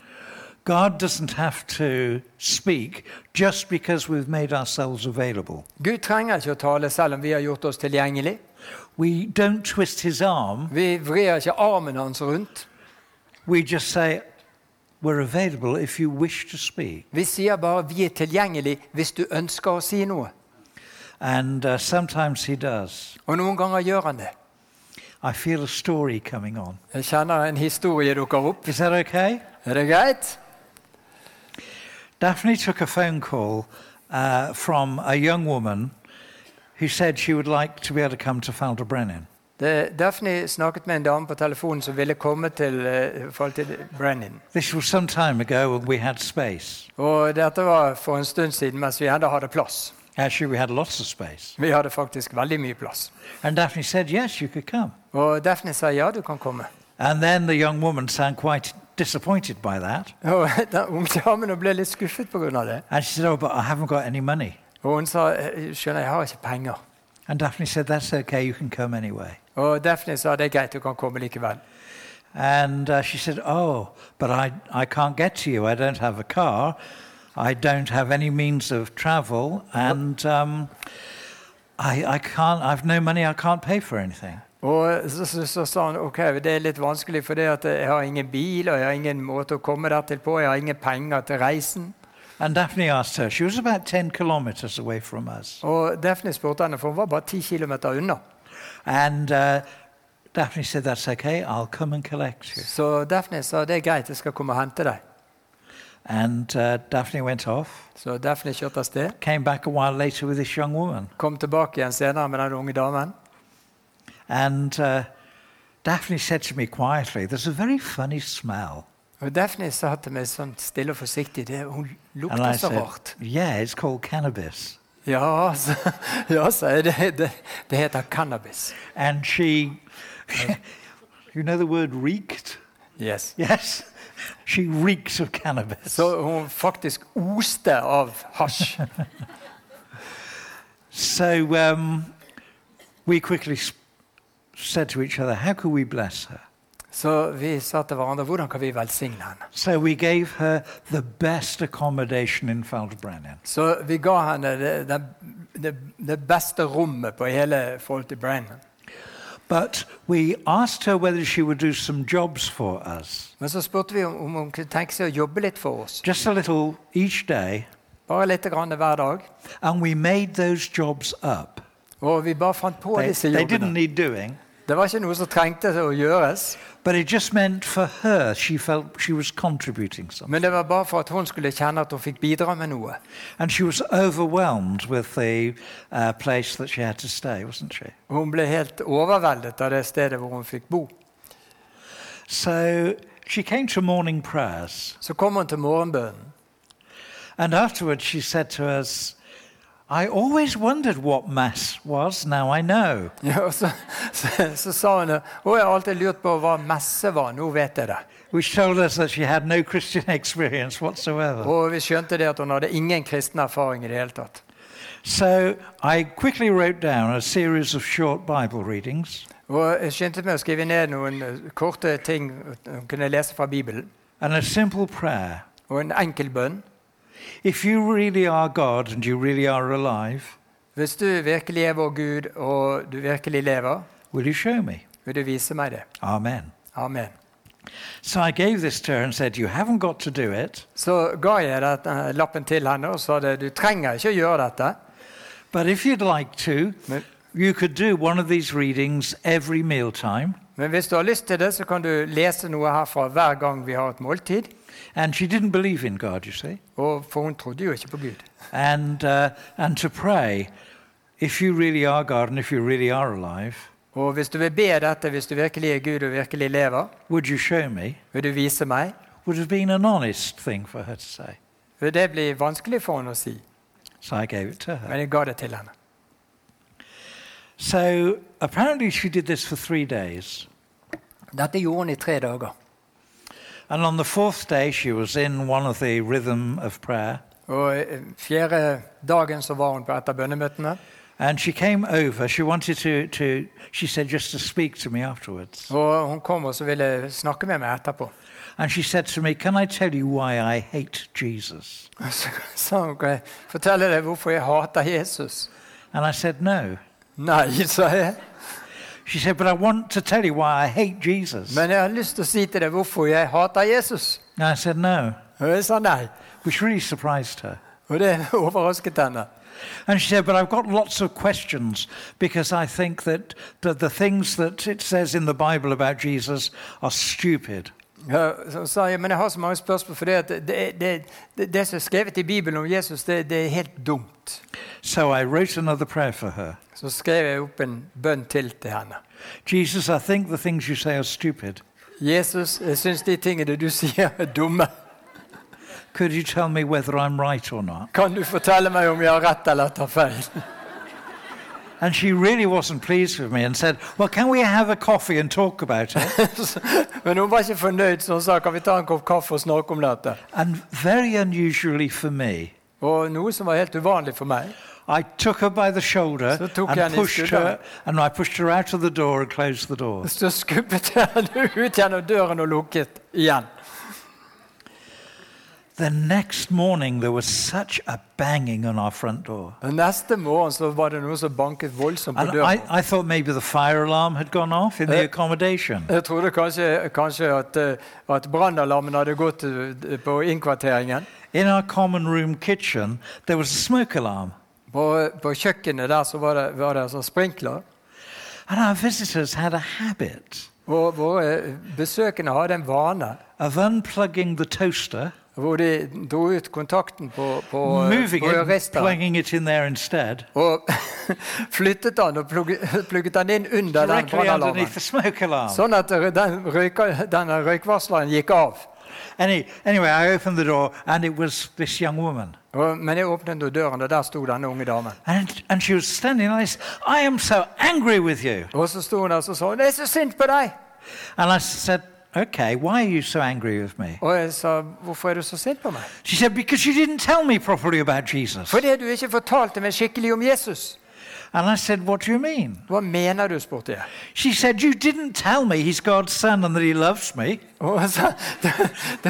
S1: God doesn't have to speak just because we've made ourselves available.
S2: Gud trenger ikke å tale selv om vi har gjort oss tilgjengelig.
S1: We don't twist his arm,
S2: Vi vrir ikke armen hans rundt.
S1: we just say, We're available if you wish to speak.
S2: Vi sier bare 'vi er tilgjengelig hvis du ønsker å si noe'.
S1: And uh, sometimes he does.
S2: Og noen ganger gjør han det.
S1: I feel a story coming on.
S2: Jeg kjenner en historie dukker opp.
S1: Is that okay?
S2: Er det greit?
S1: Daphne took a phone call uh, from a young woman who said she would like to be able to come to Falderbrennen.
S2: Det, Daphne snakket med en dame på telefonen som ville komme til, eh, fall til Brennan.
S1: This was some time ago and we had space.
S2: Og dette var for en stund siden mens vi ennå hadde plass.
S1: Actually, we had lots of space.
S2: Vi hadde faktisk veldig mye plass.
S1: And Daphne said, Yes, you could come.
S2: Og Daphne sa ja, du kan komme.
S1: And then the young woman sounded quite disappointed by that.
S2: Og den unge damen hun ble litt skuffet pga. det.
S1: And she said, Oh, but I haven't got any money.
S2: Og hun sa «Eh, skjønner, jeg har ikke penger.
S1: And Daphne said, That's okay, you can come anyway.
S2: Og Daphne sa det er greit, du kan komme likevel.
S1: And uh, she said, Oh, but I, I can't get to you. I don't have a car. I don't have any means of travel. And um, I, I can't, I've no money. I can't pay for anything.
S2: Og så, så, så sa hun ok, det er litt vanskelig, for det at jeg har ingen bil, og jeg har ingen måte å komme dertil på, jeg har ingen penger til reisen.
S1: And Daphne asked her, she was about 10 kilometers away from us.
S2: Og Daphne spurte henne, for hun var bare ti kilometer unna.
S1: And uh, Daphne said, That's okay. I'll come and collect you.
S2: Så Daphne sa det er greit, jeg skal komme og hente deg.
S1: And uh, Daphne went off,
S2: Så Daphne kjørte av sted.
S1: came back a while later with this young woman.
S2: Kom tilbake igjen senere med den unge damen.
S1: And uh, Daphne said to me quietly, There's a very funny smell.
S2: Og Daphne sa til meg sånn stille og forsiktig det, Hun
S1: And I
S2: lukter så
S1: said,
S2: rart.
S1: Yeah, it's called cannabis.
S2: Ja, sa ja, sa jeg. Det, det, det heter cannabis.
S1: And she, you know the word reeked?
S2: Yes.
S1: Yes. She reeks of cannabis.
S2: Så hun faktisk oste av hasj.
S1: So um, we quickly s- said to each other, How can we bless her?
S2: Så vi sa til hverandre hvordan kan vi velsigne henne?
S1: So we gave her the best accommodation in Feldbrennen.
S2: Så vi ga henne det, det, det, det beste rommet på hele Faulty Brennan.
S1: But we asked her whether she would do some jobs for us.
S2: Men så spurte vi om, om hun kunne tenke seg å jobbe litt for oss.
S1: Just a little each day.
S2: Bare litt grann hver dag.
S1: And we made those jobs up.
S2: Og vi bare fant på
S1: They,
S2: disse
S1: they didn't
S2: jobbene.
S1: need doing.
S2: Det var ikke noe som trengte å gjøres.
S1: But it just meant for her, she felt she was contributing something.
S2: Men det var bare for at hun skulle kjenne at hun fikk bidra med noe.
S1: And she was overwhelmed with the uh, place that she had to stay, wasn't she?
S2: Og hun ble helt overveldet av det stedet hvor hun fikk bo.
S1: So she came to morning prayers.
S2: Så kom hun til morgenbønnen.
S1: And afterwards she said to us, I always wondered what Mass was, now I know.
S2: Ja, og så, så, så sa hun at hun har alltid lurt på hva messe var. Nå vet jeg det.
S1: Which told us that she had no Christian experience whatsoever.
S2: Og vi skjønte det at hun hadde ingen kristen erfaring i det hele tatt.
S1: So I quickly wrote down a series of short Bible readings.
S2: Og jeg skyndte meg å skrive ned noen eh, korte ting hun kunne lese fra Bibelen.
S1: And a simple prayer.
S2: Og en enkel bønn.
S1: If you really are God and you really are alive,
S2: Hvis du virkelig er vår Gud, og du virkelig lever,
S1: will you show me?
S2: vil du vise meg det.
S1: Amen.
S2: Amen.
S1: So I gave this to her and said, You haven't got to do it,
S2: Så ga jeg dette, lappen til henne og sa det, du trenger ikke å gjøre dette.
S1: but if you'd like to,
S2: Men,
S1: you could do one of these readings every mealtime.
S2: men hvis du har lyst til det, så kan du lese noe herfra hver gang vi har et måltid.
S1: And she didn't believe in God, you see.
S2: Og, for hun trodde jo ikke på Gud.
S1: And, uh, and to pray, if you really are God and if you really are alive,
S2: Og hvis du vil be dette, hvis du virkelig er Gud og virkelig lever,
S1: would you show me?
S2: vil du vise meg?
S1: Would have been an honest thing for her to say.
S2: Vil det bli vanskelig for henne å si?
S1: So I gave it to her.
S2: Men jeg ga det til henne.
S1: So apparently she did this for three days.
S2: Dette gjorde hun i tre dager.
S1: And on the fourth day, she was in one of the rhythm of prayer.
S2: Og eh, fjerde dagen så var hun på et av bønnemøtene.
S1: And she came over. She wanted to, to, she said, just to speak to me afterwards.
S2: Og hun kom og så ville snakke med meg etterpå.
S1: And she said to me, Can I tell you why I hate Jesus?
S2: Og så sa hun kan jeg fortelle deg hvorfor jeg hater Jesus.
S1: And I said, No.
S2: Nei, sa jeg.
S1: She said, But I want to tell you why I hate Jesus.
S2: Men jeg har lyst til å si til deg hvorfor jeg hater Jesus.
S1: And I said, No,
S2: Og jeg sa nei.
S1: which really surprised her.
S2: Og det overrasket henne.
S1: And she said, But I've got lots of questions because I think that, that the things that it says in the Bible about Jesus are stupid.
S2: Ja, så sa jeg, men jeg har så mange spørsmål, for det, det, det, det, det som er skrevet i Bibelen om Jesus, det, det er helt dumt.
S1: So I wrote another prayer for her.
S2: Så skrev jeg opp en bønn til til henne.
S1: Jesus, I think the things you say are stupid.
S2: Jesus, jeg syns de tingene du sier, er dumme.
S1: Could you tell me whether I'm right or not?
S2: Kan du fortelle meg om jeg har rett eller tar feil?
S1: And she really wasn't pleased with me and said, Well, can we have a coffee and talk about it?
S2: Men hun var ikke fornøyd, så hun sa kan vi ta en kopp kaffe og snakke om dette.
S1: and very unusually for me,
S2: Og noe som var helt uvanlig for meg,
S1: I took her by the shoulder
S2: Så tok jeg
S1: and
S2: henne i
S1: pushed
S2: skulderen.
S1: her, and I pushed her out of the door and closed the door.
S2: så skubbet jeg henne ut gjennom døren og lukket igjen.
S1: The next morning, there was such a banging on our front door.
S2: Men Neste morgen så var det noen som banket voldsomt på
S1: And I,
S2: døren.
S1: I thought maybe the fire alarm had gone off in the
S2: Eh.
S1: accommodation.
S2: Jeg trodde kanskje, kanskje at, eh, at brannalarmen hadde gått eh, på innkvarteringen.
S1: In our common room kitchen, there was a smoke alarm.
S2: På, på kjøkkenet der så var det, var det altså sprinkler.
S1: And our visitors had a habit
S2: Våre, våre besøkende hadde en vane
S1: of unplugging the toaster,
S2: hvor de dro ut kontakten på, på, eh,
S1: moving
S2: på
S1: it,
S2: rødristeren
S1: plugging it in there instead,
S2: og flyttet den og plugg- plugget den inn under den
S1: directly underneath
S2: brannalarmen.
S1: the smoke alarm.
S2: Sånn at den røyka- denne røykvarsleren gikk av.
S1: Any, anyway, I opened the door and it was this young woman.
S2: Og, men jeg åpnet jo døren, og der sto denne unge damen.
S1: And, and she was standing like this. I am so angry with you.
S2: Og så sto hun der og så sa hun, 'Jeg er så sint på deg!'
S1: And I said, Okay, why are you so angry with me?
S2: Og jeg sa, 'Hvorfor er du så sint på meg?'
S1: She said, Because you didn't tell me properly about Jesus.
S2: 'Fordi du ikke fortalte meg skikkelig om Jesus.'
S1: And I said, What do you mean?
S2: 'Hva mener du?' spurte jeg.
S1: She said, You didn't tell me he's God's son and that he loves me.
S2: Og hun sa, du, du,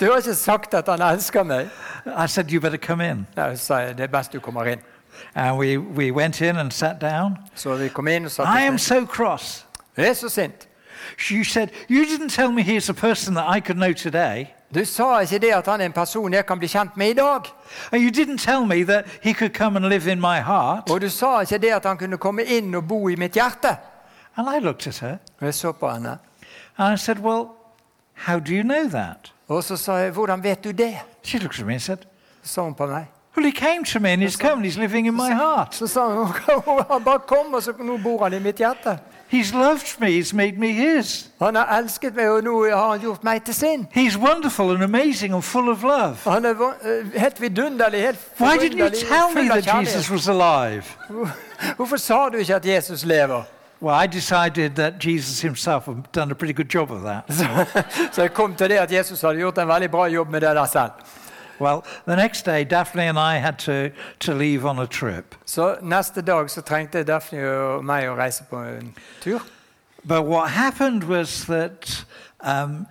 S2: du har ikke sagt at han elsker meg.'
S1: I said, You better come in.
S2: Nei, så sa jeg, 'Det er best du kommer inn.'
S1: And we, we went in and sat down.
S2: Så vi kom inn og satte
S1: I am
S2: oss ned.
S1: so cross.
S2: Jeg er så sint.
S1: She said, You didn't tell me he's a person that I could know today.
S2: Du sa ikke det at han er en person jeg kan bli kjent med i dag.
S1: And you didn't tell me that he could come and live in my heart.
S2: Og du sa ikke det at han kunne komme inn og bo i mitt hjerte.
S1: And I looked at her
S2: Og jeg så på henne.
S1: and I said, Well, how do you know that?
S2: Og så sa jeg, 'Hvordan vet du det?'
S1: She looked at me and said,
S2: sa hun på meg.
S1: Well, he came to me and he's come and he's living in my heart.
S2: Så sa hun, 'Han bare kom, og så nå bor han i mitt hjerte'.
S1: He's loved me, he's made me his.
S2: Han har elsket meg, og nå har han gjort meg til sin.
S1: He's wonderful and amazing and full of love.
S2: Han er va- eh, helt vidunderlig, helt
S1: Why didn't you tell me
S2: full av
S1: that
S2: kjærlighet.
S1: Jesus was alive?
S2: Hvorfor sa du ikke at Jesus lever?
S1: Well, I decided that Jesus himself had done a pretty good job of that.
S2: Så, så jeg kom til det at Jesus hadde gjort en veldig bra jobb med det der selv.
S1: Well, the next day, Daphne and I had to, to leave on a trip.
S2: Så neste dag så trengte Daphne og meg å reise på en tur.
S1: But what happened was that um,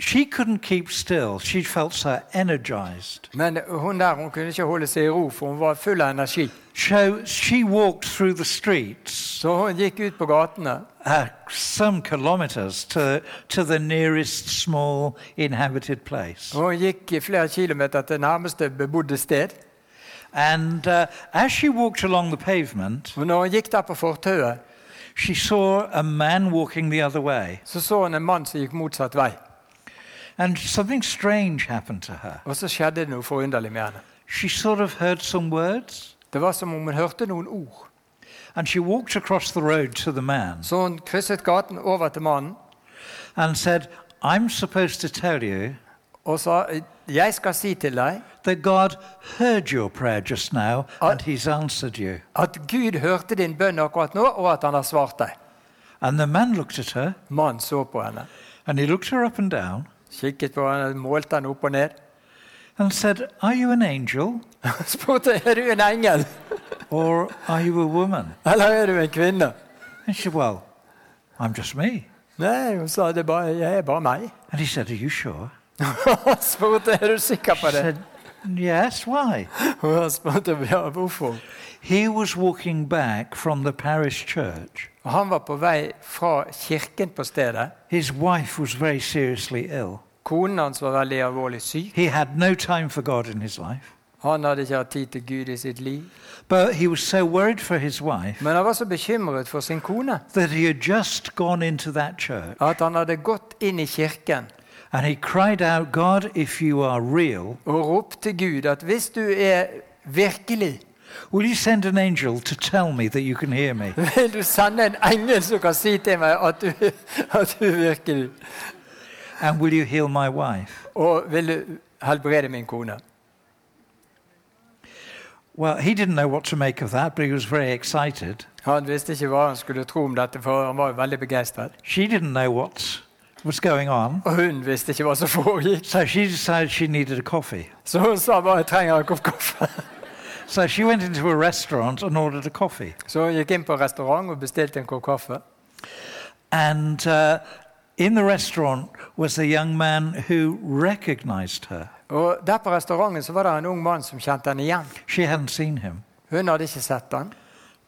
S1: she couldn't keep still. She felt so energized.
S2: Men hun der hun kunne ikke holde seg i ro, for hun var full av energi.
S1: So she walked through the streets,
S2: Så hun gikk ut på gatene,
S1: uh, some kilometers, to, to the nearest small inhabited place.
S2: og hun gikk flere kilometer til nærmeste bebodde sted.
S1: And uh, as she walked along the pavement,
S2: Og når hun gikk der på fortauet,
S1: she saw a man walking the other way.
S2: så så hun en mann som gikk motsatt vei.
S1: And something strange happened to her.
S2: Og så skjedde det noe forunderlig med henne.
S1: She sort of heard some words,
S2: Det var som om hun hørte noen ord.
S1: and she walked across the road to the man.
S2: Så hun krysset gaten over til mannen
S1: and said, I'm supposed to tell you
S2: og sa, 'Jeg skal si til deg
S1: that God heard your prayer just now
S2: I-
S1: and He's answered you.
S2: at Gud hørte din bønn akkurat nå, og at han har svart deg.'
S1: And the man looked at her
S2: Mannen så på henne,
S1: and he looked her up and down
S2: kikket på henne, målte henne opp og ned.
S1: and said, Are you an angel
S2: Han spurte 'Er du en engel,
S1: or are you a woman?
S2: eller er du en kvinne?'
S1: And she said, Well, I'm just me.
S2: Nei, hun sa det bare, 'Jeg er bare meg'.
S1: And he said, Are you sure?
S2: Han spurte 'Er du sikker
S1: She
S2: på det?'
S1: said, Yes, why?
S2: Og han spurte ja, hvorfor.
S1: He was walking back from the parish church.
S2: Og Han var på vei fra kirken på stedet.
S1: His wife was very seriously ill.
S2: Konen hans var veldig alvorlig syk.
S1: He had no time for God in his life.
S2: Han hadde ikke hatt tid til Gud i sitt liv.
S1: But he was so worried for his wife
S2: Men han var så bekymret for sin kone
S1: that he had just gone into that church
S2: at han hadde gått inn i kirken
S1: and he cried out, God, if you are real,
S2: og ropt til Gud at hvis du er virkelig,
S1: will you send an angel to tell me that you can hear me?
S2: vil du sende en engel som kan si til meg at du, at du er virkelig,
S1: And will you heal my wife?
S2: og vil du helbrede min kone?
S1: Well, he didn't know what to make of that, but he was very excited.
S2: Han visste ikke hva han skulle tro om dette, for han var jo veldig begeistret.
S1: She didn't know what was going on,
S2: Og hun visste ikke hva som foregikk,
S1: so she decided she needed a coffee.
S2: så hun sa bare 'jeg trenger en kopp kaffe'.
S1: So she went into a restaurant and ordered a coffee.
S2: Så hun gikk inn på restaurant og bestilte en kopp kaffe.
S1: And uh, in the restaurant was a young man who recognized her.
S2: Og der på restauranten så var det en ung mann som kjente henne igjen.
S1: She hadn't seen him,
S2: Hun hadde ikke sett han,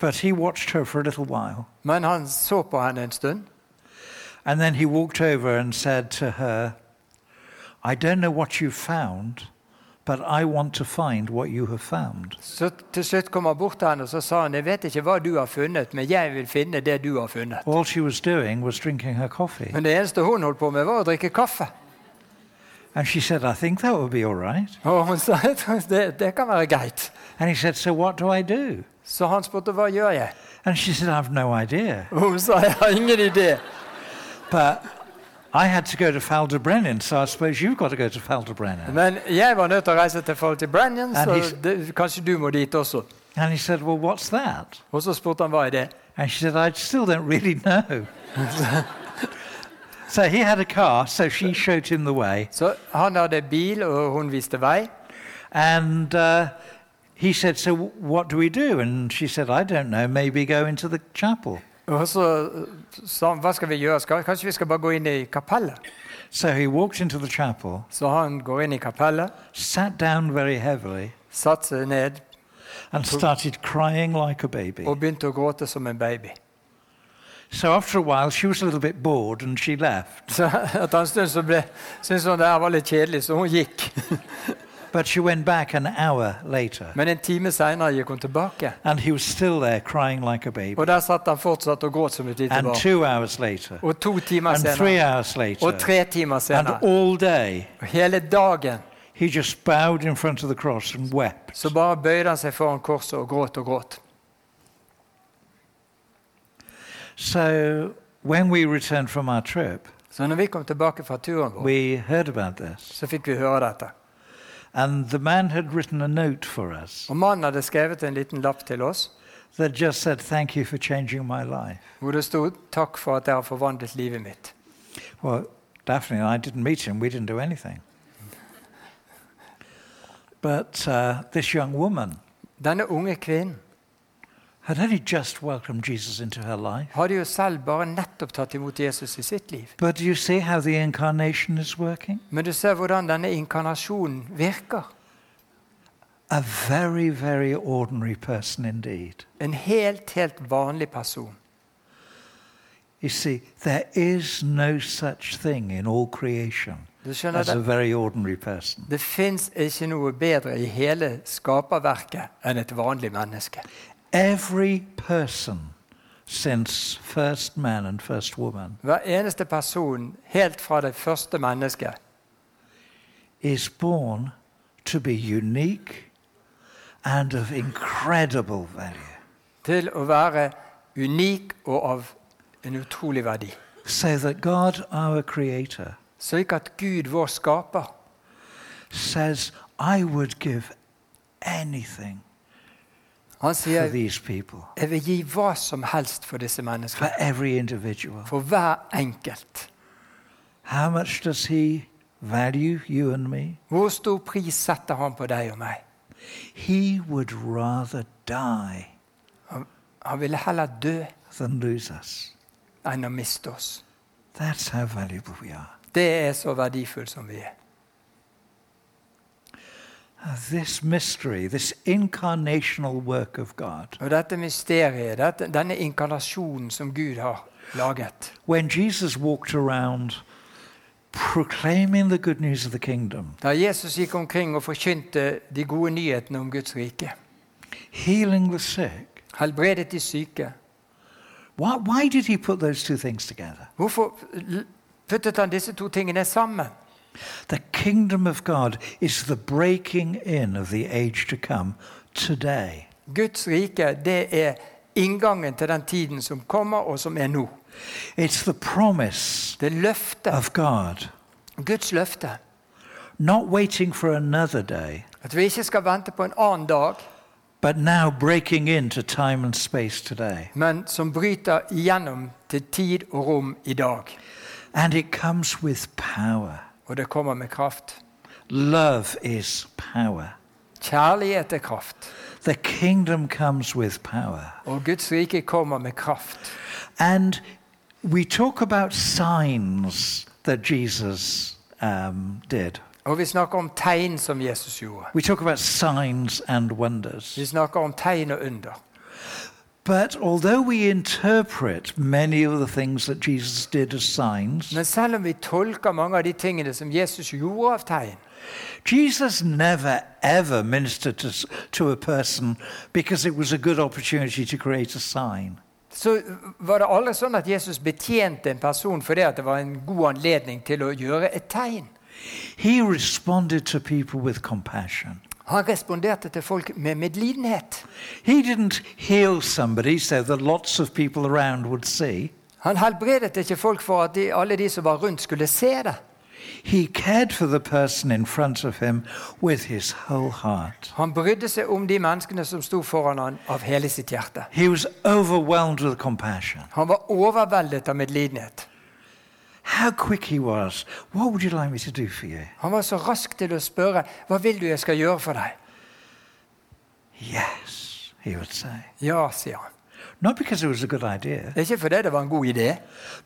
S1: but he watched her for a little while.
S2: men han så på henne en stund.
S1: And then he walked over and said to her, I don't know what you found, but I want to find what you have found.
S2: Så til slutt kom han bort til henne og så sa han, 'Jeg vet ikke hva du har funnet, men jeg vil finne det du har funnet'.
S1: All she was doing was drinking her coffee.
S2: Men det eneste hun holdt på med, var å drikke kaffe.
S1: And she said, I think that would be all right.
S2: Og hun sa «Jeg tror det, det kan være greit.
S1: And he said, So what do I do?
S2: Så han spurte hva gjør jeg
S1: And she said, I've no idea.
S2: Og hun sa 'jeg har ingen idé'.
S1: But I had to go to Falderbrennen, so I suppose you've got to go to Falderbrennen.
S2: Men jeg var nødt til å reise til Faulty
S1: And
S2: Brennan, så
S1: he's-
S2: det, kanskje du må dit også.
S1: And he said, Well, what's that?
S2: Og så spurte han hva er det
S1: And she said, I still don't really know. so he had a car, so she showed him the way.
S2: Så han hadde bil, og hun viste vei.
S1: And uh, he said, So what do we do? And she said, I don't know. Maybe go into the chapel.
S2: Og så sa han hva skal vi gjøre, skal, kanskje vi skal bare gå inn i kapellet?
S1: So he walked into the chapel,
S2: Så han går inn i kapellet,
S1: sat down very heavily,
S2: satte seg ned
S1: and started crying like a baby.
S2: og begynte å gråte som en baby.
S1: So after a while, she was a little bit bored and she left.
S2: Så etter en stund så ble, syntes hun det her var litt kjedelig, så hun gikk.
S1: But she went back an hour later,
S2: Men en time seinere gikk hun tilbake,
S1: and he was still there crying like a baby.
S2: og der satt han fortsatt og gråt som et lite
S1: And
S2: barn.
S1: two hours later,
S2: Og to timer
S1: and three
S2: senere,
S1: hours later,
S2: og tre timer
S1: and
S2: senere,
S1: all day,
S2: og hele dagen,
S1: he just bowed in front of the cross and wept.
S2: så bare bøyde han seg foran korset og gråt og gråt.
S1: So when we returned from our trip,
S2: Så når vi kom tilbake fra turen vår,
S1: we heard about this.
S2: så fikk vi høre dette.
S1: And the man had written a note for us
S2: Og mannen hadde skrevet en liten lapp til oss
S1: that just said, Thank you for changing my life.
S2: hvor det stod 'Takk for at jeg har forvandlet livet mitt'.
S1: Well, Daphne and I didn't meet him. We didn't do anything. But uh, this young woman
S2: Denne unge kvinnen
S1: had only just welcomed Jesus into her life.
S2: hadde jo selv bare nettopp tatt imot Jesus i sitt liv.
S1: But do you see how the incarnation is working?
S2: Men du ser hvordan denne inkarnasjonen virker.
S1: A very, very ordinary person indeed.
S2: En helt, helt vanlig person.
S1: You see, there is no such thing in all creation
S2: Du skjønner
S1: as a
S2: Det,
S1: very ordinary person.
S2: det fins ikke noe bedre i hele skaperverket enn et vanlig menneske.
S1: Every person since first man and first woman
S2: Hver eneste person, helt fra det første mennesket,
S1: is born to be unique and of incredible value.
S2: til å være unik og av en utrolig verdi.
S1: So that God, our Creator,
S2: Slik at Gud, vår skaper,
S1: says, I would give anything
S2: han
S1: for
S2: sier
S1: these people,
S2: Jeg vil gi hva som helst for disse
S1: for
S2: menneskene.
S1: every individual.
S2: For hver enkelt.
S1: How much does He value you and me?
S2: Hvor stor pris setter han på deg og meg?
S1: He would rather die
S2: Han, han ville heller dø
S1: than lose us.
S2: enn å miste oss.
S1: That's how valuable we are.
S2: Det er så verdifullt som vi er.
S1: Now, This mystery, this incarnational work of God.
S2: Og dette mysteriet, dette, denne inkarnasjonen som Gud har laget
S1: When Jesus walked around proclaiming the good news of the kingdom,
S2: Da Jesus gikk omkring og forkynte de gode nyhetene om Guds rike,
S1: healing the sick.
S2: helbredet de syke,
S1: Why, why did he put those two things together?
S2: hvorfor l- puttet han disse to tingene sammen?
S1: The kingdom of God is the breaking in of the age to come today.
S2: Guds rike, det er inngangen til den tiden som kommer, og som er nå.
S1: It's the promise
S2: Det er løftet.
S1: of God,
S2: Guds løfte.
S1: not waiting for another day,
S2: At vi ikke skal vente på en annen dag,
S1: but now breaking into time and space today.
S2: men som bryter igjennom til tid og rom i dag.
S1: And it comes with power.
S2: Og det kommer med kraft.
S1: Love is power.
S2: Kjærlighet er kraft.
S1: The kingdom comes with power.
S2: Og Guds rike kommer med kraft.
S1: And we talk about signs that Jesus um, did.
S2: Og vi snakker om tegn som Jesus gjorde.
S1: We talk about signs and wonders.
S2: Vi snakker om tegn og under.
S1: But although we interpret many of the things that Jesus did as signs,
S2: Men selv om vi tolker mange av de tingene som Jesus gjorde av tegn,
S1: Jesus never ever ministered to, s- to a person because it was a good opportunity to create a sign.
S2: så var det aldri sånn at Jesus betjente en person fordi at det var en god anledning til å gjøre et tegn.
S1: He responded to people with compassion.
S2: Han responderte til folk med medlidenhet.
S1: He didn't heal somebody so that lots of people around would see.
S2: Han helbredet ikke folk for at de, alle de som var rundt, skulle se det.
S1: He cared for the person in front of him with his whole heart.
S2: Han brydde seg om de menneskene som sto foran han av hele sitt hjerte.
S1: He was overwhelmed with compassion.
S2: Han var overveldet av medlidenhet.
S1: How quick he was. What would you like me to do for you?
S2: Han var så rask til å spørre 'Hva vil du jeg skal gjøre for deg?'
S1: Yes, he would say.
S2: Ja, sier han.
S1: Not because it was a good idea,
S2: Ikke fordi det var en god idé,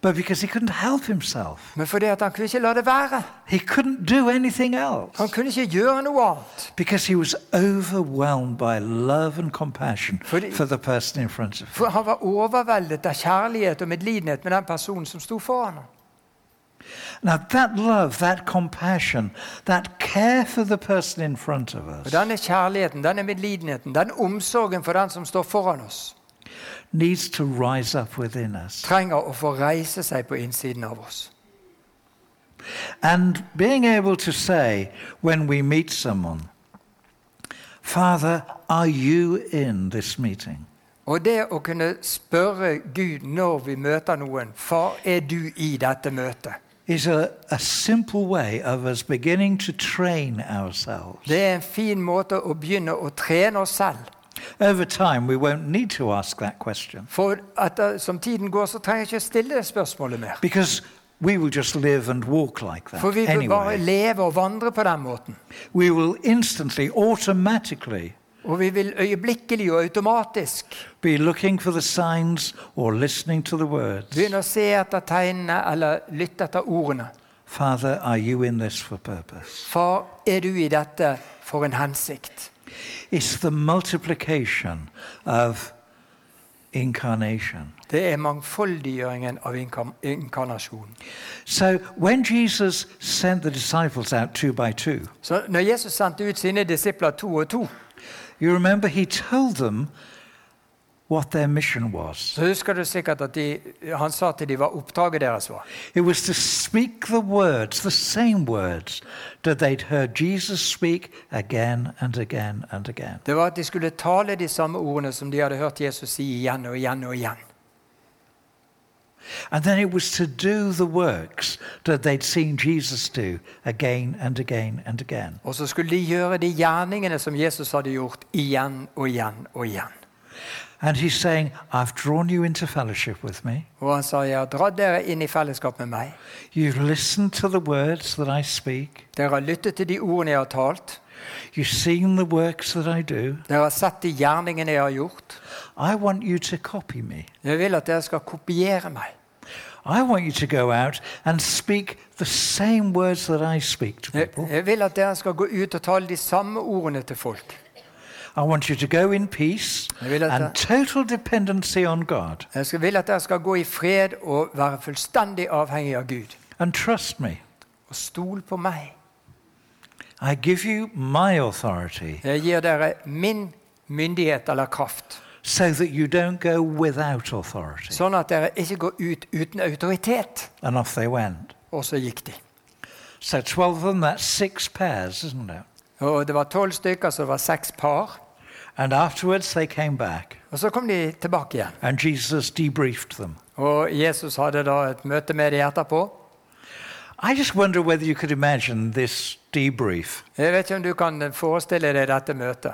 S1: but because he couldn't help himself.
S2: men fordi at han kunne ikke la det være.
S1: He couldn't do anything else.
S2: Han kunne ikke gjøre noe annet.
S1: Because he was overwhelmed by love and compassion
S2: For the-
S1: for the person in front of him.
S2: For han var overveldet av kjærlighet og medlidenhet med den personen som sto foran ham.
S1: Now, that love, that compassion, that care for the person in front of
S2: Og
S1: us
S2: denne kjærligheten, denne medlidenheten, denne omsorgen for den som står foran oss,
S1: needs to rise up within us.
S2: trenger å få reise seg på innsiden av oss.
S1: And being able to say when we meet someone, Father, are you in this meeting?
S2: Og det å kunne spørre Gud når vi møter noen 'Far, er du i dette møtet?'
S1: Is a, a simple way of us beginning to train ourselves.
S2: Det er en fin måte å begynne å trene oss selv.
S1: Over time, we won't need to ask that question
S2: For at, eh, som tiden går, så trenger jeg ikke å stille det spørsmålet mer.
S1: because we will just live and walk like that.
S2: For vi vil bare
S1: Anyway,
S2: leve og vandre på den måten.
S1: we will instantly, automatically
S2: Og vi vil øyeblikkelig og automatisk
S1: be looking for the signs or listening to the words.
S2: begynne å se etter tegnene eller lytte etter ordene.
S1: Father, are you in this for purpose?
S2: Far, er du i dette for en hensikt?
S1: It's the multiplication of incarnation.
S2: Det er mangfoldiggjøringen av inkar- inkarnasjonen.
S1: So when Jesus sent the disciples out two by two,
S2: Så når Jesus sendte ut sine disipler to og to,
S1: you remember he told them what their mission was.
S2: så husker du sikkert at de, han sa til de hva oppdraget deres var.
S1: It was to speak the words, the same words that they'd heard Jesus speak again and again and again.
S2: Det var at de skulle tale de samme ordene som de hadde hørt Jesus si igjen og igjen og igjen.
S1: And then it was to do the works that they'd seen Jesus do again and again and again.
S2: Og så skulle de gjøre de gjerningene som Jesus hadde gjort, igjen og igjen og igjen.
S1: And he's saying, I've drawn you into fellowship with me.
S2: Og han sa, jeg har dratt dere inn i fellesskap med meg.
S1: You've listened to the words that I speak.
S2: Dere har lyttet til de ordene jeg har talt.
S1: You've seen the works that I do.
S2: Dere har sett de gjerningene jeg har gjort.
S1: I want you to copy me.
S2: Jeg vil at dere skal kopiere meg.
S1: I want you to go out and speak the same words that I speak to
S2: Jeg,
S1: people.
S2: jeg vil at dere skal gå ut og tale de samme ordene til folk.
S1: I want you to go in peace
S2: Jeg vil at
S1: and
S2: dere,
S1: total dependency on God
S2: jeg skal- vil at dere skal gå i fred og være fullstendig avhengig av Gud.
S1: and trust me.
S2: og stol på meg.
S1: I give you my authority
S2: Jeg gir dere min myndighet eller kraft,
S1: so that you don't go without authority.
S2: sånn at dere ikke går ut uten autoritet.
S1: and off they went.
S2: Og så gikk de.
S1: So 12 of them, that's six pairs, isn't it?
S2: Og Det var tolv stykker, så det var seks par.
S1: And afterwards they came back
S2: Og Så kom de tilbake igjen.
S1: and Jesus debriefed them.
S2: Og Jesus hadde da et møte med dem etterpå.
S1: I just wonder whether you could imagine this debrief.
S2: Jeg vet ikke om du kan forestille deg dette møtet.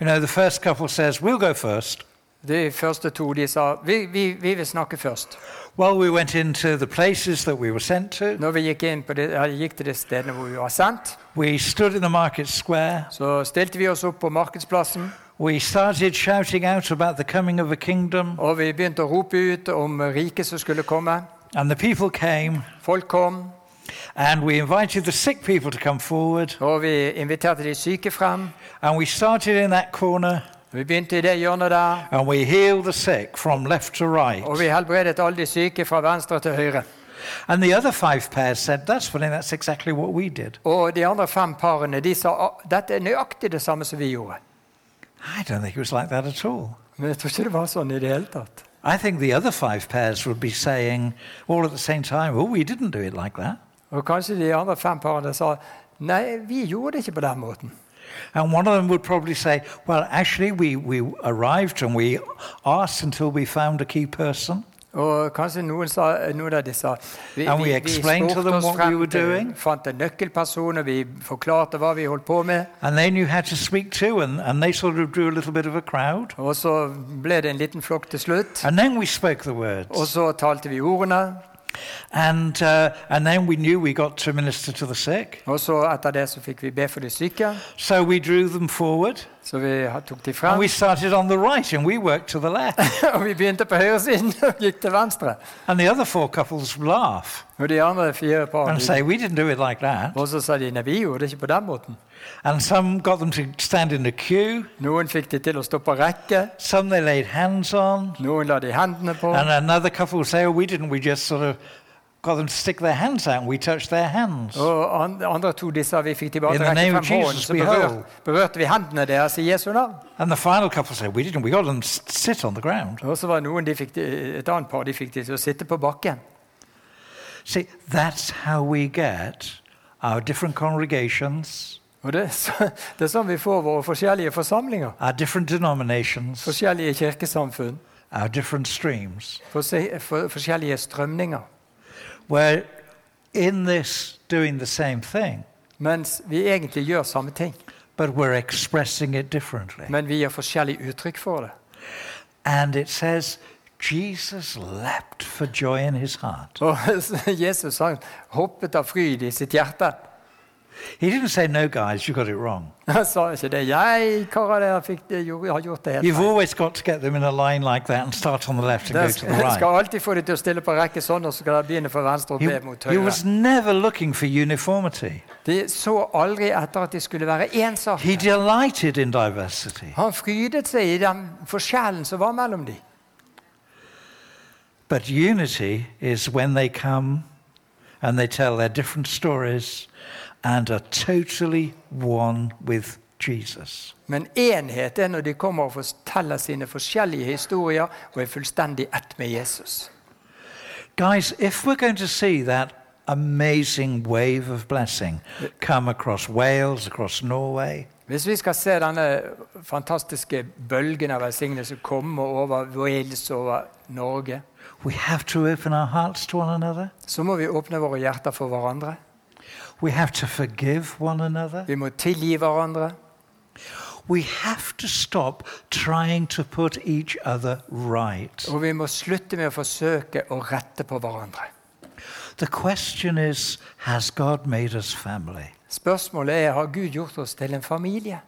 S1: You know, the first couple says, We'll go first.
S2: De første to de sa vi, vi, vi vil snakke først.
S1: Well, we went into the places that we were sent to.
S2: Når vi gikk, inn på det, eller gikk til de stedene hvor vi var sendt,
S1: We stood in the market square.
S2: så stilte vi oss opp på markedsplassen.
S1: We started shouting out about the coming of a kingdom.
S2: Og vi begynte å rope ut om riket som skulle komme.
S1: And the people came.
S2: Folk kom,
S1: And we invited the sick people to come forward.
S2: og vi inviterte de syke frem.
S1: And we started in that corner.
S2: Vi begynte i det hjørnet der,
S1: And we healed the sick from left to right.
S2: og vi helbredet alle de syke fra venstre til høyre.
S1: And the other five pairs said, That's funny, that's exactly what we did.
S2: Og de andre fem parene de sa «Ah, dette er nøyaktig det samme som vi gjorde.
S1: I don't think it was like that at all.
S2: Men jeg tror ikke det var sånn i det hele tatt.
S1: I think the other five pairs would be saying all at the same time, Oh, we didn't do it like that.
S2: Og kanskje de andre fem parene sa nei, vi gjorde det ikke på den måten.
S1: And one of them would probably say, Well, actually, we, we arrived and we asked until we found a key person.
S2: Og kanskje noen, sa, noen av de sa Vi,
S1: And we
S2: vi, vi
S1: explained to
S2: spurte
S1: them
S2: oss
S1: what we
S2: frem
S1: were
S2: til
S1: doing.
S2: fant en nøkkelperson, og vi forklarte hva vi holdt på med.
S1: And they knew how to speak too, and, and they sort of drew a little bit of a crowd.
S2: Og så ble det en liten flokk til slutt.
S1: And then we spoke the words.
S2: Og så talte vi ordene.
S1: And, uh, and then we knew we got to minister to the sick.
S2: Og så etter det så fikk vi be for de syke.
S1: So we drew them forward.
S2: Så vi ha- tok de
S1: And
S2: frem.
S1: we started on the right and we worked to the left.
S2: Og vi begynte på høyresiden og gikk til venstre.
S1: and the other four couples laugh
S2: Og de andre fire
S1: and
S2: parene
S1: say, We didn't do it like that.
S2: Og så sa de nei, vi gjorde det ikke på den måten.
S1: And some got them to stand in a queue,
S2: Noen fikk de til å stå på rekke.
S1: some they laid hands on,
S2: Noen la de hendene på.
S1: and another couple would say, Oh, we didn't. We just sort of got them to stick their hands out and we touched their hands.
S2: Og an- andre to de sa vi fikk de bare
S1: In
S2: til
S1: the
S2: å rekke
S1: name
S2: frem
S1: of
S2: hånden,
S1: Jesus,
S2: så
S1: we
S2: berør,
S1: hold.
S2: berørte vi hendene deres i Jesu navn.
S1: And the final couple said, We didn't. We got them to s- sit on the ground.
S2: Og så var noen de fikk de, et annet par de fikk de til å sitte på bakken.
S1: See, that's how we get our different congregations,
S2: Og det, er så, det er sånn vi får våre forskjellige forsamlinger.
S1: our different denominations,
S2: Forskjellige kirkesamfunn.
S1: our different streams.
S2: forse- for, forskjellige strømninger.
S1: We're in this doing the same thing,
S2: Mens vi egentlig gjør samme ting,
S1: but we're expressing it differently.
S2: men vi gir forskjellig uttrykk for det.
S1: And it says, Jesus leapt for joy in his heart.
S2: Og Jesus han hoppet av fryd i sitt hjerte.
S1: He didn't say, No, guys, you got it wrong.
S2: Han sa ikke det. 'Jeg, karer, dere fikk det, jo- har gjort det helt
S1: You've
S2: feil.'
S1: always got to get them in a line like that and start on the left and go
S2: Dere
S1: to
S2: skal,
S1: the right.
S2: skal alltid få dem til å stille på rekke sånn, og så skal dere begynne fra venstre og
S1: He,
S2: be mot
S1: he
S2: høyre.
S1: was never looking for uniformity.
S2: De så aldri etter at de skulle være ensartet.
S1: He delighted in diversity.
S2: Han frydet seg i den forskjellen som var mellom dem.
S1: But unity is when they come and they tell their different stories and are totally one with Jesus.
S2: Men enhet er når de kommer og forteller sine forskjellige historier og er fullstendig ett med Jesus.
S1: Guys, if we're going to see that amazing wave of blessing come across Wales, across Norway,
S2: Hvis vi skal se denne fantastiske bølgen av velsignelse komme over Wales og over Norge,
S1: we have to open our hearts to one another.
S2: så må vi åpne våre hjerter for hverandre.
S1: We have to forgive one another.
S2: Vi må tilgi hverandre.
S1: We have to stop trying to put each other right.
S2: Og vi må slutte med å forsøke å rette på hverandre.
S1: The question is Has God made us family?
S2: Spørsmålet er har Gud gjort oss til en familie.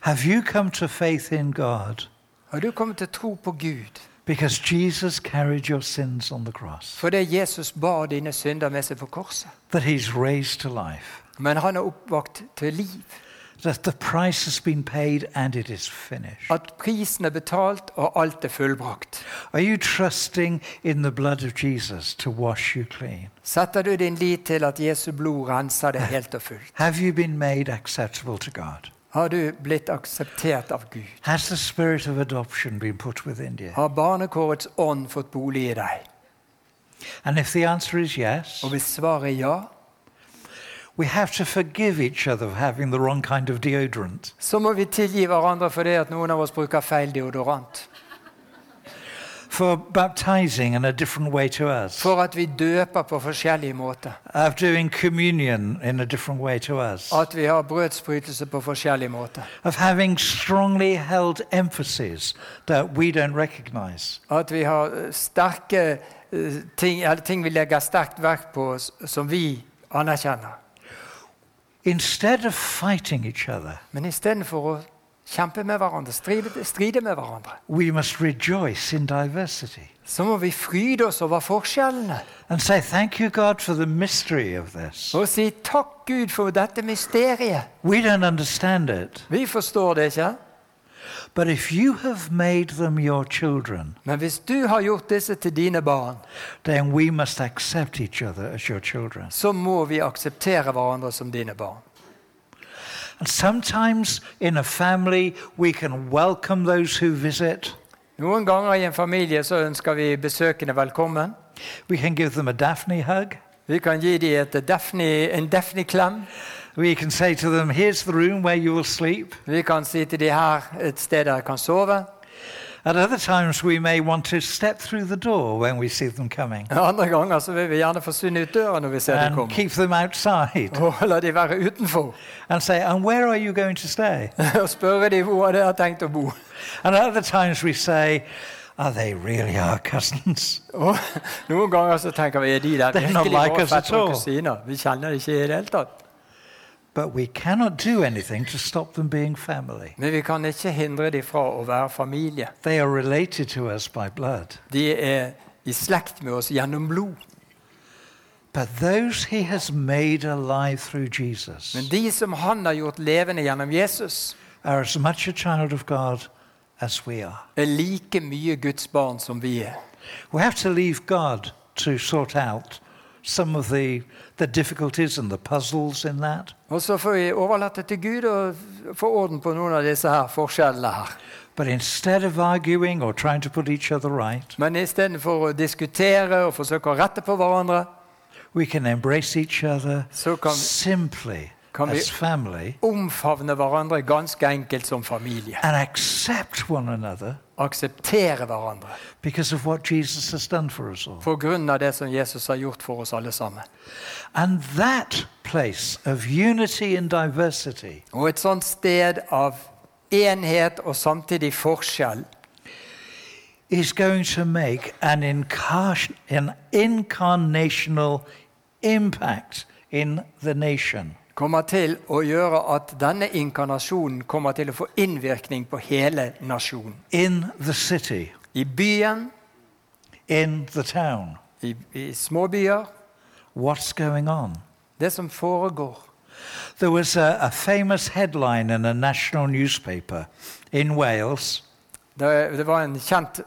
S1: Have you come to faith in God
S2: Har du kommet til tro på Gud
S1: because Jesus carried your sins on the cross,
S2: fordi Jesus bar dine synder med seg på korset?
S1: that He's raised to life,
S2: Men han er oppvakt til liv.
S1: that the price has been paid and it is finished.
S2: At prisen er betalt, og alt er fullbrakt.
S1: Are you trusting in the blood of Jesus to wash you clean?
S2: Setter du din lit til at Jesu blod renser deg helt og fullt?
S1: Have you been made acceptable to God?
S2: Har du blitt akseptert av Gud?
S1: Has the spirit of adoption been put within you?
S2: Har barnekårets ånd fått bolig i deg?
S1: And if the answer is yes,
S2: Og hvis svaret er ja,
S1: we have to forgive each other for having the wrong kind of deodorant.
S2: så må vi tilgi hverandre for det at noen av oss bruker feil deodorant.
S1: for baptizing in a different way to us,
S2: For at vi døper på forskjellige måter.
S1: of doing communion in a different way to us,
S2: At vi har brødsprøytelse på forskjellige måter.
S1: of having strongly held emphases that we don't recognize.
S2: At vi har eh, sterke eh, ting, eller ting vi legger sterkt vekt på s- som vi anerkjenner.
S1: Instead of fighting each other,
S2: Men istedenfor å kjempe med hverandre, stride, stride med hverandre,
S1: we must rejoice in diversity
S2: så må vi fryde oss over forskjellene.
S1: and say, Thank you, God, for the mystery of this.
S2: Og si takk, Gud, for dette mysteriet.
S1: We don't understand it,
S2: Vi forstår det ikke,
S1: but if you have made them your children,
S2: men hvis du har gjort disse til dine barn,
S1: then we must accept each other as your children.
S2: så må vi akseptere hverandre som dine barn.
S1: And sometimes in a family, we can welcome those who visit.
S2: Noen ganger i en familie så ønsker vi besøkende velkommen.
S1: We can give them a Daphne hug.
S2: Vi kan gi dem et Daphne, en Daphne-klem.
S1: We can say to them, Here's the room where you will sleep.
S2: Vi kan si til dem her et sted der jeg kan sove.
S1: At other times, we may want to step through the door when we see them coming
S2: Andre ganger så vil vi gjerne forsvinne ut døra når vi ser dem
S1: and
S2: komme.
S1: keep them outside
S2: Og la de være utenfor.
S1: and say, And where are you going to stay?
S2: Og spørre dem hvor de har tenkt å bo.
S1: And at other times, we say, Are they really our cousins?
S2: Og noen ganger så tenker vi er de der
S1: Det er noe
S2: virkelig våre
S1: like us at
S2: fettere og
S1: all.
S2: kusiner. Vi kjenner dem ikke i det hele tatt.
S1: But we cannot do anything to stop them being family.
S2: Men vi kan ikke hindre dem fra å være familie.
S1: They are related to us by blood.
S2: De er i slekt med oss gjennom blod.
S1: But those he has made alive through Jesus
S2: Men de som han har gjort levende gjennom Jesus,
S1: are as much a child of God as we are.
S2: er like mye Guds barn som vi er.
S1: We have to leave God to sort out some of the, the difficulties and the puzzles in that.
S2: Og så får vi overlate til Gud og få orden på noen av disse her forskjellene her.
S1: But instead of arguing or trying to put each other right,
S2: Men istedenfor å diskutere og forsøke å rette på hverandre,
S1: we can embrace each other
S2: så kan vi
S1: simply
S2: Can we-
S1: as family
S2: omfavne hverandre ganske enkelt som familie.
S1: and accept one another
S2: Akseptere hverandre
S1: because of what Jesus has done for us all.
S2: på grunn av det som Jesus har gjort for oss alle sammen.
S1: And that place of unity and diversity
S2: Og et sånt sted av enhet og samtidig forskjell
S1: is going to make an, incar- an incarnational impact in the nation.
S2: kommer til å gjøre at denne inkarnasjonen kommer til å få innvirkning på hele nasjonen.
S1: in the city,
S2: I byen,
S1: in the town,
S2: i, i småbyer,
S1: what's going on.
S2: det som foregår.
S1: There was a, a famous headline in a national newspaper in Wales
S2: Det, det var en kjent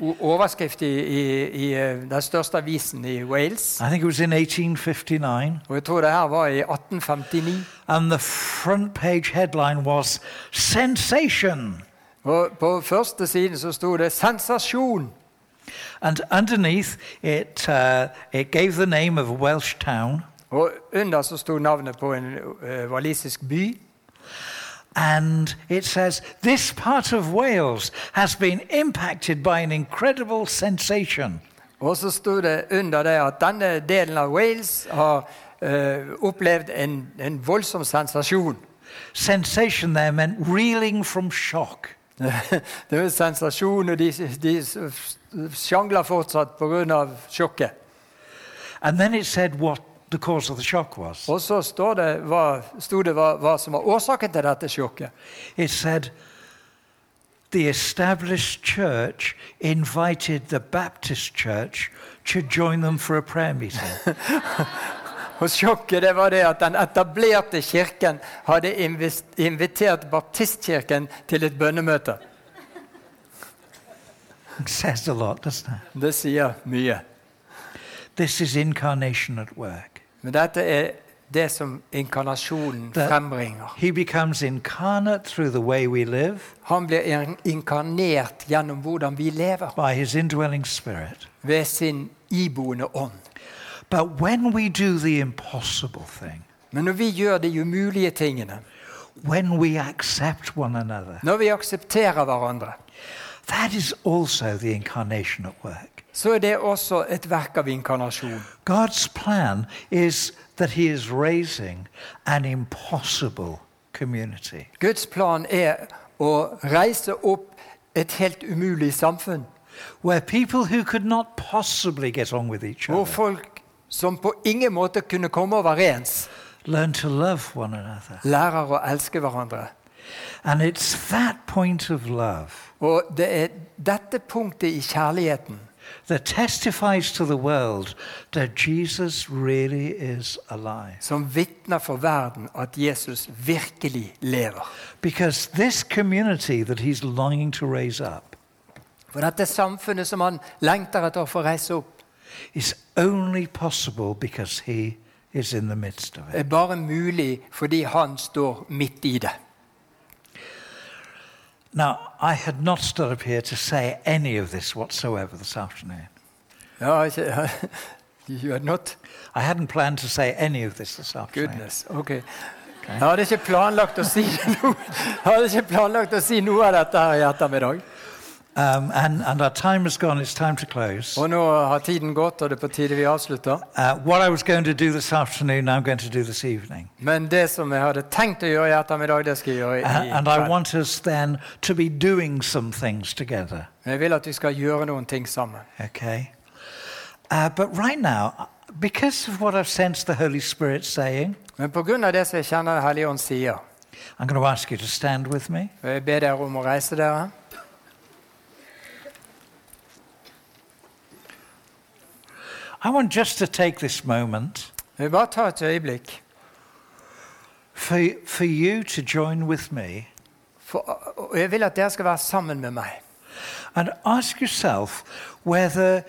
S2: o- overskrift i, i, i eh, den største avisen i Wales.
S1: I think it was in 1859,
S2: Og jeg tror det her var i 1859.
S1: and the front page headline was Sensation!
S2: Og på første siden så sto det 'sensasjon'.
S1: And underneath it, uh, it gave the name of a Welsh town,
S2: Og under så sto navnet på en eh, walisisk by.
S1: and it says, This part of Wales has been impacted by an incredible sensation.
S2: Og så sto det under det at denne delen av Wales har eh, opplevd en, en voldsom sensasjon.
S1: Sensation there meant reeling from shock.
S2: det var en sensasjon, og de, de sjangler fortsatt pga. sjokket.
S1: And then it said what the cause of the shock was.
S2: Og så står det, hva, sto det hva, hva som var årsaken til dette sjokket.
S1: It said the established church invited the Baptist church to join them for a prayer meeting.
S2: Og sjokket det var det at den etablerte kirken hadde invis- invitert baptistkirken til et bønnemøte.
S1: It says a lot, doesn't it?
S2: Det sier mye.
S1: This is incarnation at work.
S2: Men dette er det som inkarnasjonen
S1: Det-
S2: frembringer.
S1: He becomes incarnate through the way we live
S2: Han blir in- inkarnert gjennom hvordan vi lever,
S1: by his indwelling spirit.
S2: ved sin iboende ånd.
S1: But when we do the impossible thing,
S2: Men når vi gjør de umulige tingene,
S1: when we accept one another,
S2: når vi aksepterer hverandre,
S1: that is also the incarnation at work.
S2: så er det også et verk av inkarnasjon.
S1: God's plan is that he is raising an impossible community.
S2: Guds plan er å reise opp et helt umulig samfunn,
S1: where people who could not possibly get on with each
S2: hvor
S1: other
S2: folk som på ingen måte kunne komme overens,
S1: learn to love one another.
S2: lærer å elske hverandre.
S1: And it's that point of love
S2: Og det er dette punktet i kjærligheten
S1: that testifies to the world that Jesus really is alive.
S2: som vitner for verden at Jesus virkelig lever.
S1: Because this community that he's longing to raise up
S2: For dette samfunnet som han lengter etter å få reise opp,
S1: is only possible because he is in the midst of it.
S2: er bare mulig fordi han står midt i det.
S1: Now, I had not stood up here to say any of this whatsoever this afternoon.
S2: Ja, ikke You're not
S1: I hadn't planned to say any of this this afternoon.
S2: goodness. Ok. Jeg hadde ikke planlagt å si noe, jeg hadde ikke planlagt å si noe av dette her i ettermiddag.
S1: Um, and, and our time has gone, it's time to close.
S2: Og nå har tiden gått, og det er på tide vi avslutter.
S1: Uh, what I was going to do this afternoon, I'm going to do this evening.
S2: Men det som jeg hadde tenkt å gjøre i ettermiddag, det skal jeg gjøre i
S1: A- and I
S2: kveld.
S1: want us then to be doing some things together,
S2: Men Jeg vil at vi skal gjøre noen ting sammen.
S1: okay? Uh, but right now, because of what I've sensed the Holy Spirit saying,
S2: Men pga. det som jeg kjenner Hellige Ånd sier,
S1: I'm going to ask you to stand with me.
S2: og jeg ber dere om å reise dere
S1: I want just to take this moment
S2: Jeg vil bare ta et øyeblikk
S1: for, for you to join with me
S2: for, og jeg vil at dere skal være sammen med meg.
S1: and ask yourself whether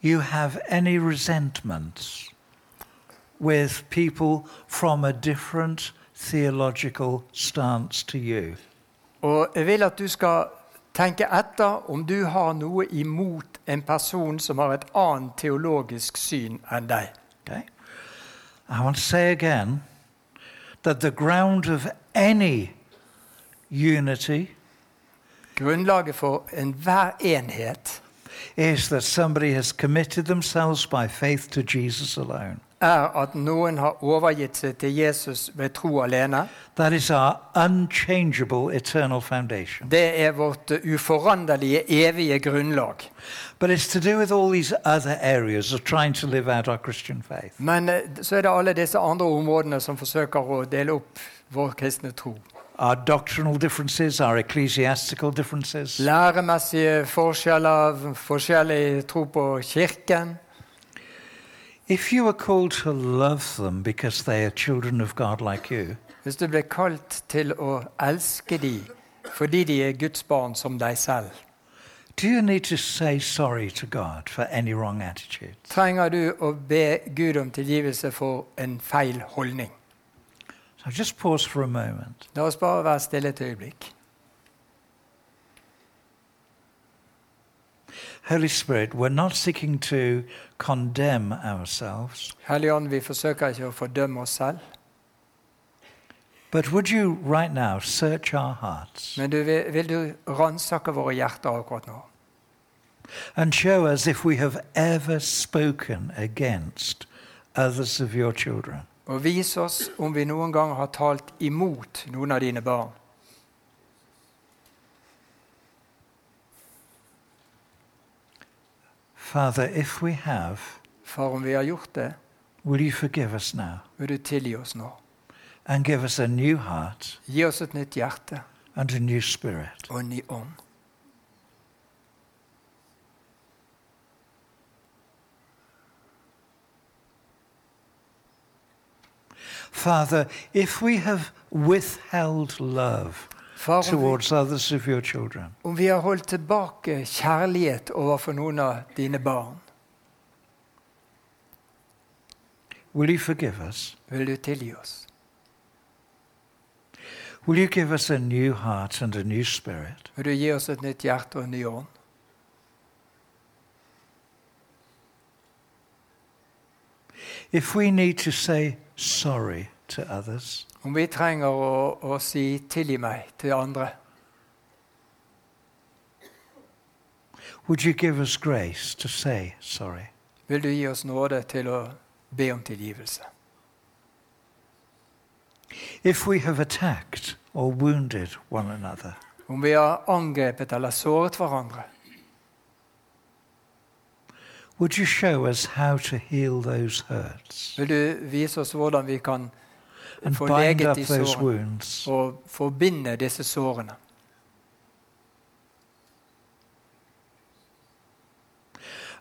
S1: you have any resentments with people from a different theological stance to you.
S2: Og jeg vil at du skal tenke etter om du har noe imot en person som har et annet teologisk syn enn deg.
S1: Okay? I want to say again that the ground of any unity
S2: Grunnlaget for enhver enhet
S1: is that somebody has committed themselves by faith to Jesus alone.
S2: er at noen har overgitt seg til Jesus ved tro alene.
S1: That is our unchangeable eternal foundation.
S2: Det er vårt uforanderlige, evige grunnlag.
S1: But it's to do with all these other areas of trying to live out our Christian faith.
S2: Men eh, så er det alle disse andre områdene som forsøker å dele opp vår kristne tro.
S1: Our doctrinal differences, our ecclesiastical differences,
S2: Læremessige forskjeller, forskjellig tro på kirken.
S1: if you are called to love them because they are children of God like you,
S2: Hvis du blir kalt til å elske de fordi de er Guds barn som deg selv,
S1: do you need to say sorry to God for any wrong attitude?
S2: trenger du å be Gud om tilgivelse for en feil holdning.
S1: So just pause for a moment.
S2: La oss bare være stille et øyeblikk.
S1: Holy Spirit, we're not seeking to condemn ourselves,
S2: Hellige Ånd, vi forsøker ikke å fordømme oss selv,
S1: but would you right now search our hearts
S2: men du, vil vil du ransake våre hjerter akkurat nå?
S1: and show us if we have ever spoken against others of your children?
S2: Og vis oss om vi noen gang har talt imot noen av dine barn.
S1: Father, if we have,
S2: For om vi har gjort det,
S1: will you forgive us now
S2: vil du tilgi oss nå.
S1: and give us a new heart
S2: Gi oss et nytt hjerte
S1: and a new spirit?
S2: og en ny ånd.
S1: Father, if we have withheld love
S2: Far, om vi,
S1: towards others of your children,
S2: om vi har holdt tilbake kjærlighet overfor noen av dine barn,
S1: will you forgive us?
S2: vil du tilgi oss.
S1: Will you give us a new heart and a new spirit?
S2: Vil du gi oss et nytt hjerte og en ny ånd?
S1: If we need to say sorry to others,
S2: Om vi trenger å, å si 'tilgi meg' til andre,
S1: would you give us grace to say sorry?
S2: vil du gi oss nåde til å be om tilgivelse.
S1: If we have attacked or wounded one another,
S2: Om vi har angrepet eller såret hverandre,
S1: would you show us how to heal those hurts
S2: vil du vise oss hvordan vi kan
S1: and
S2: få
S1: bind
S2: leget
S1: up
S2: de
S1: those
S2: sårene
S1: wounds?
S2: og forbinde disse sårene.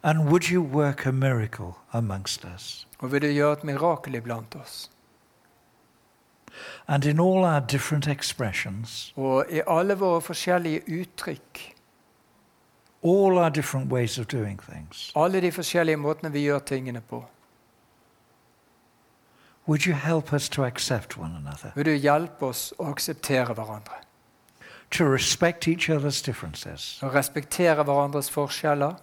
S1: And would you work a miracle amongst us?
S2: Og vil du gjøre et mirakel iblant oss?
S1: And in all our different expressions,
S2: Og i alle våre forskjellige uttrykk,
S1: all our different ways of doing things,
S2: alle de forskjellige måtene vi gjør tingene på,
S1: would you help us to accept one another,
S2: vil du hjelpe oss å akseptere hverandre.
S1: to respect each other's differences,
S2: Å respektere hverandres forskjeller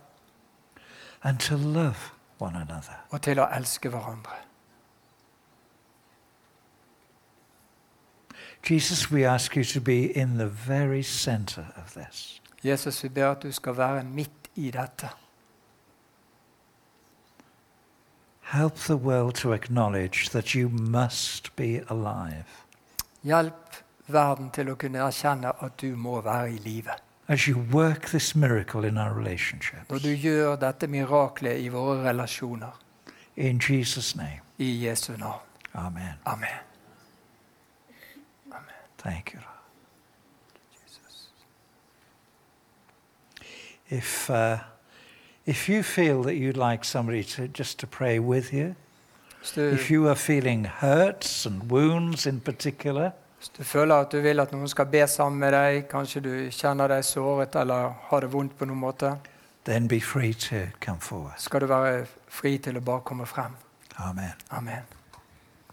S1: and to love one another?
S2: og til å elske hverandre.
S1: Jesus, we ask you to be in the very center of this.
S2: Jesus, vi ber at du skal være midt i dette.
S1: Help the world to acknowledge that you must be alive
S2: Hjelp verden til å kunne erkjenne at du må være i live.
S1: as you work this miracle in our relationships.
S2: Når du gjør dette miraklet i våre relasjoner.
S1: In Jesus' name,
S2: I Jesu navn.
S1: amen.
S2: Amen.
S1: Thank you, Lord. If, uh, if you feel that you'd like somebody to just to pray with you,
S2: Hvis du,
S1: if you are feeling hurts and wounds in particular,
S2: hvis du føler at du vil at noen skal be sammen med deg, kanskje du kjenner deg såret eller har det vondt på noen måte,
S1: then be free to come forward.
S2: skal du være fri til å bare komme frem.
S1: Amen.
S2: Amen.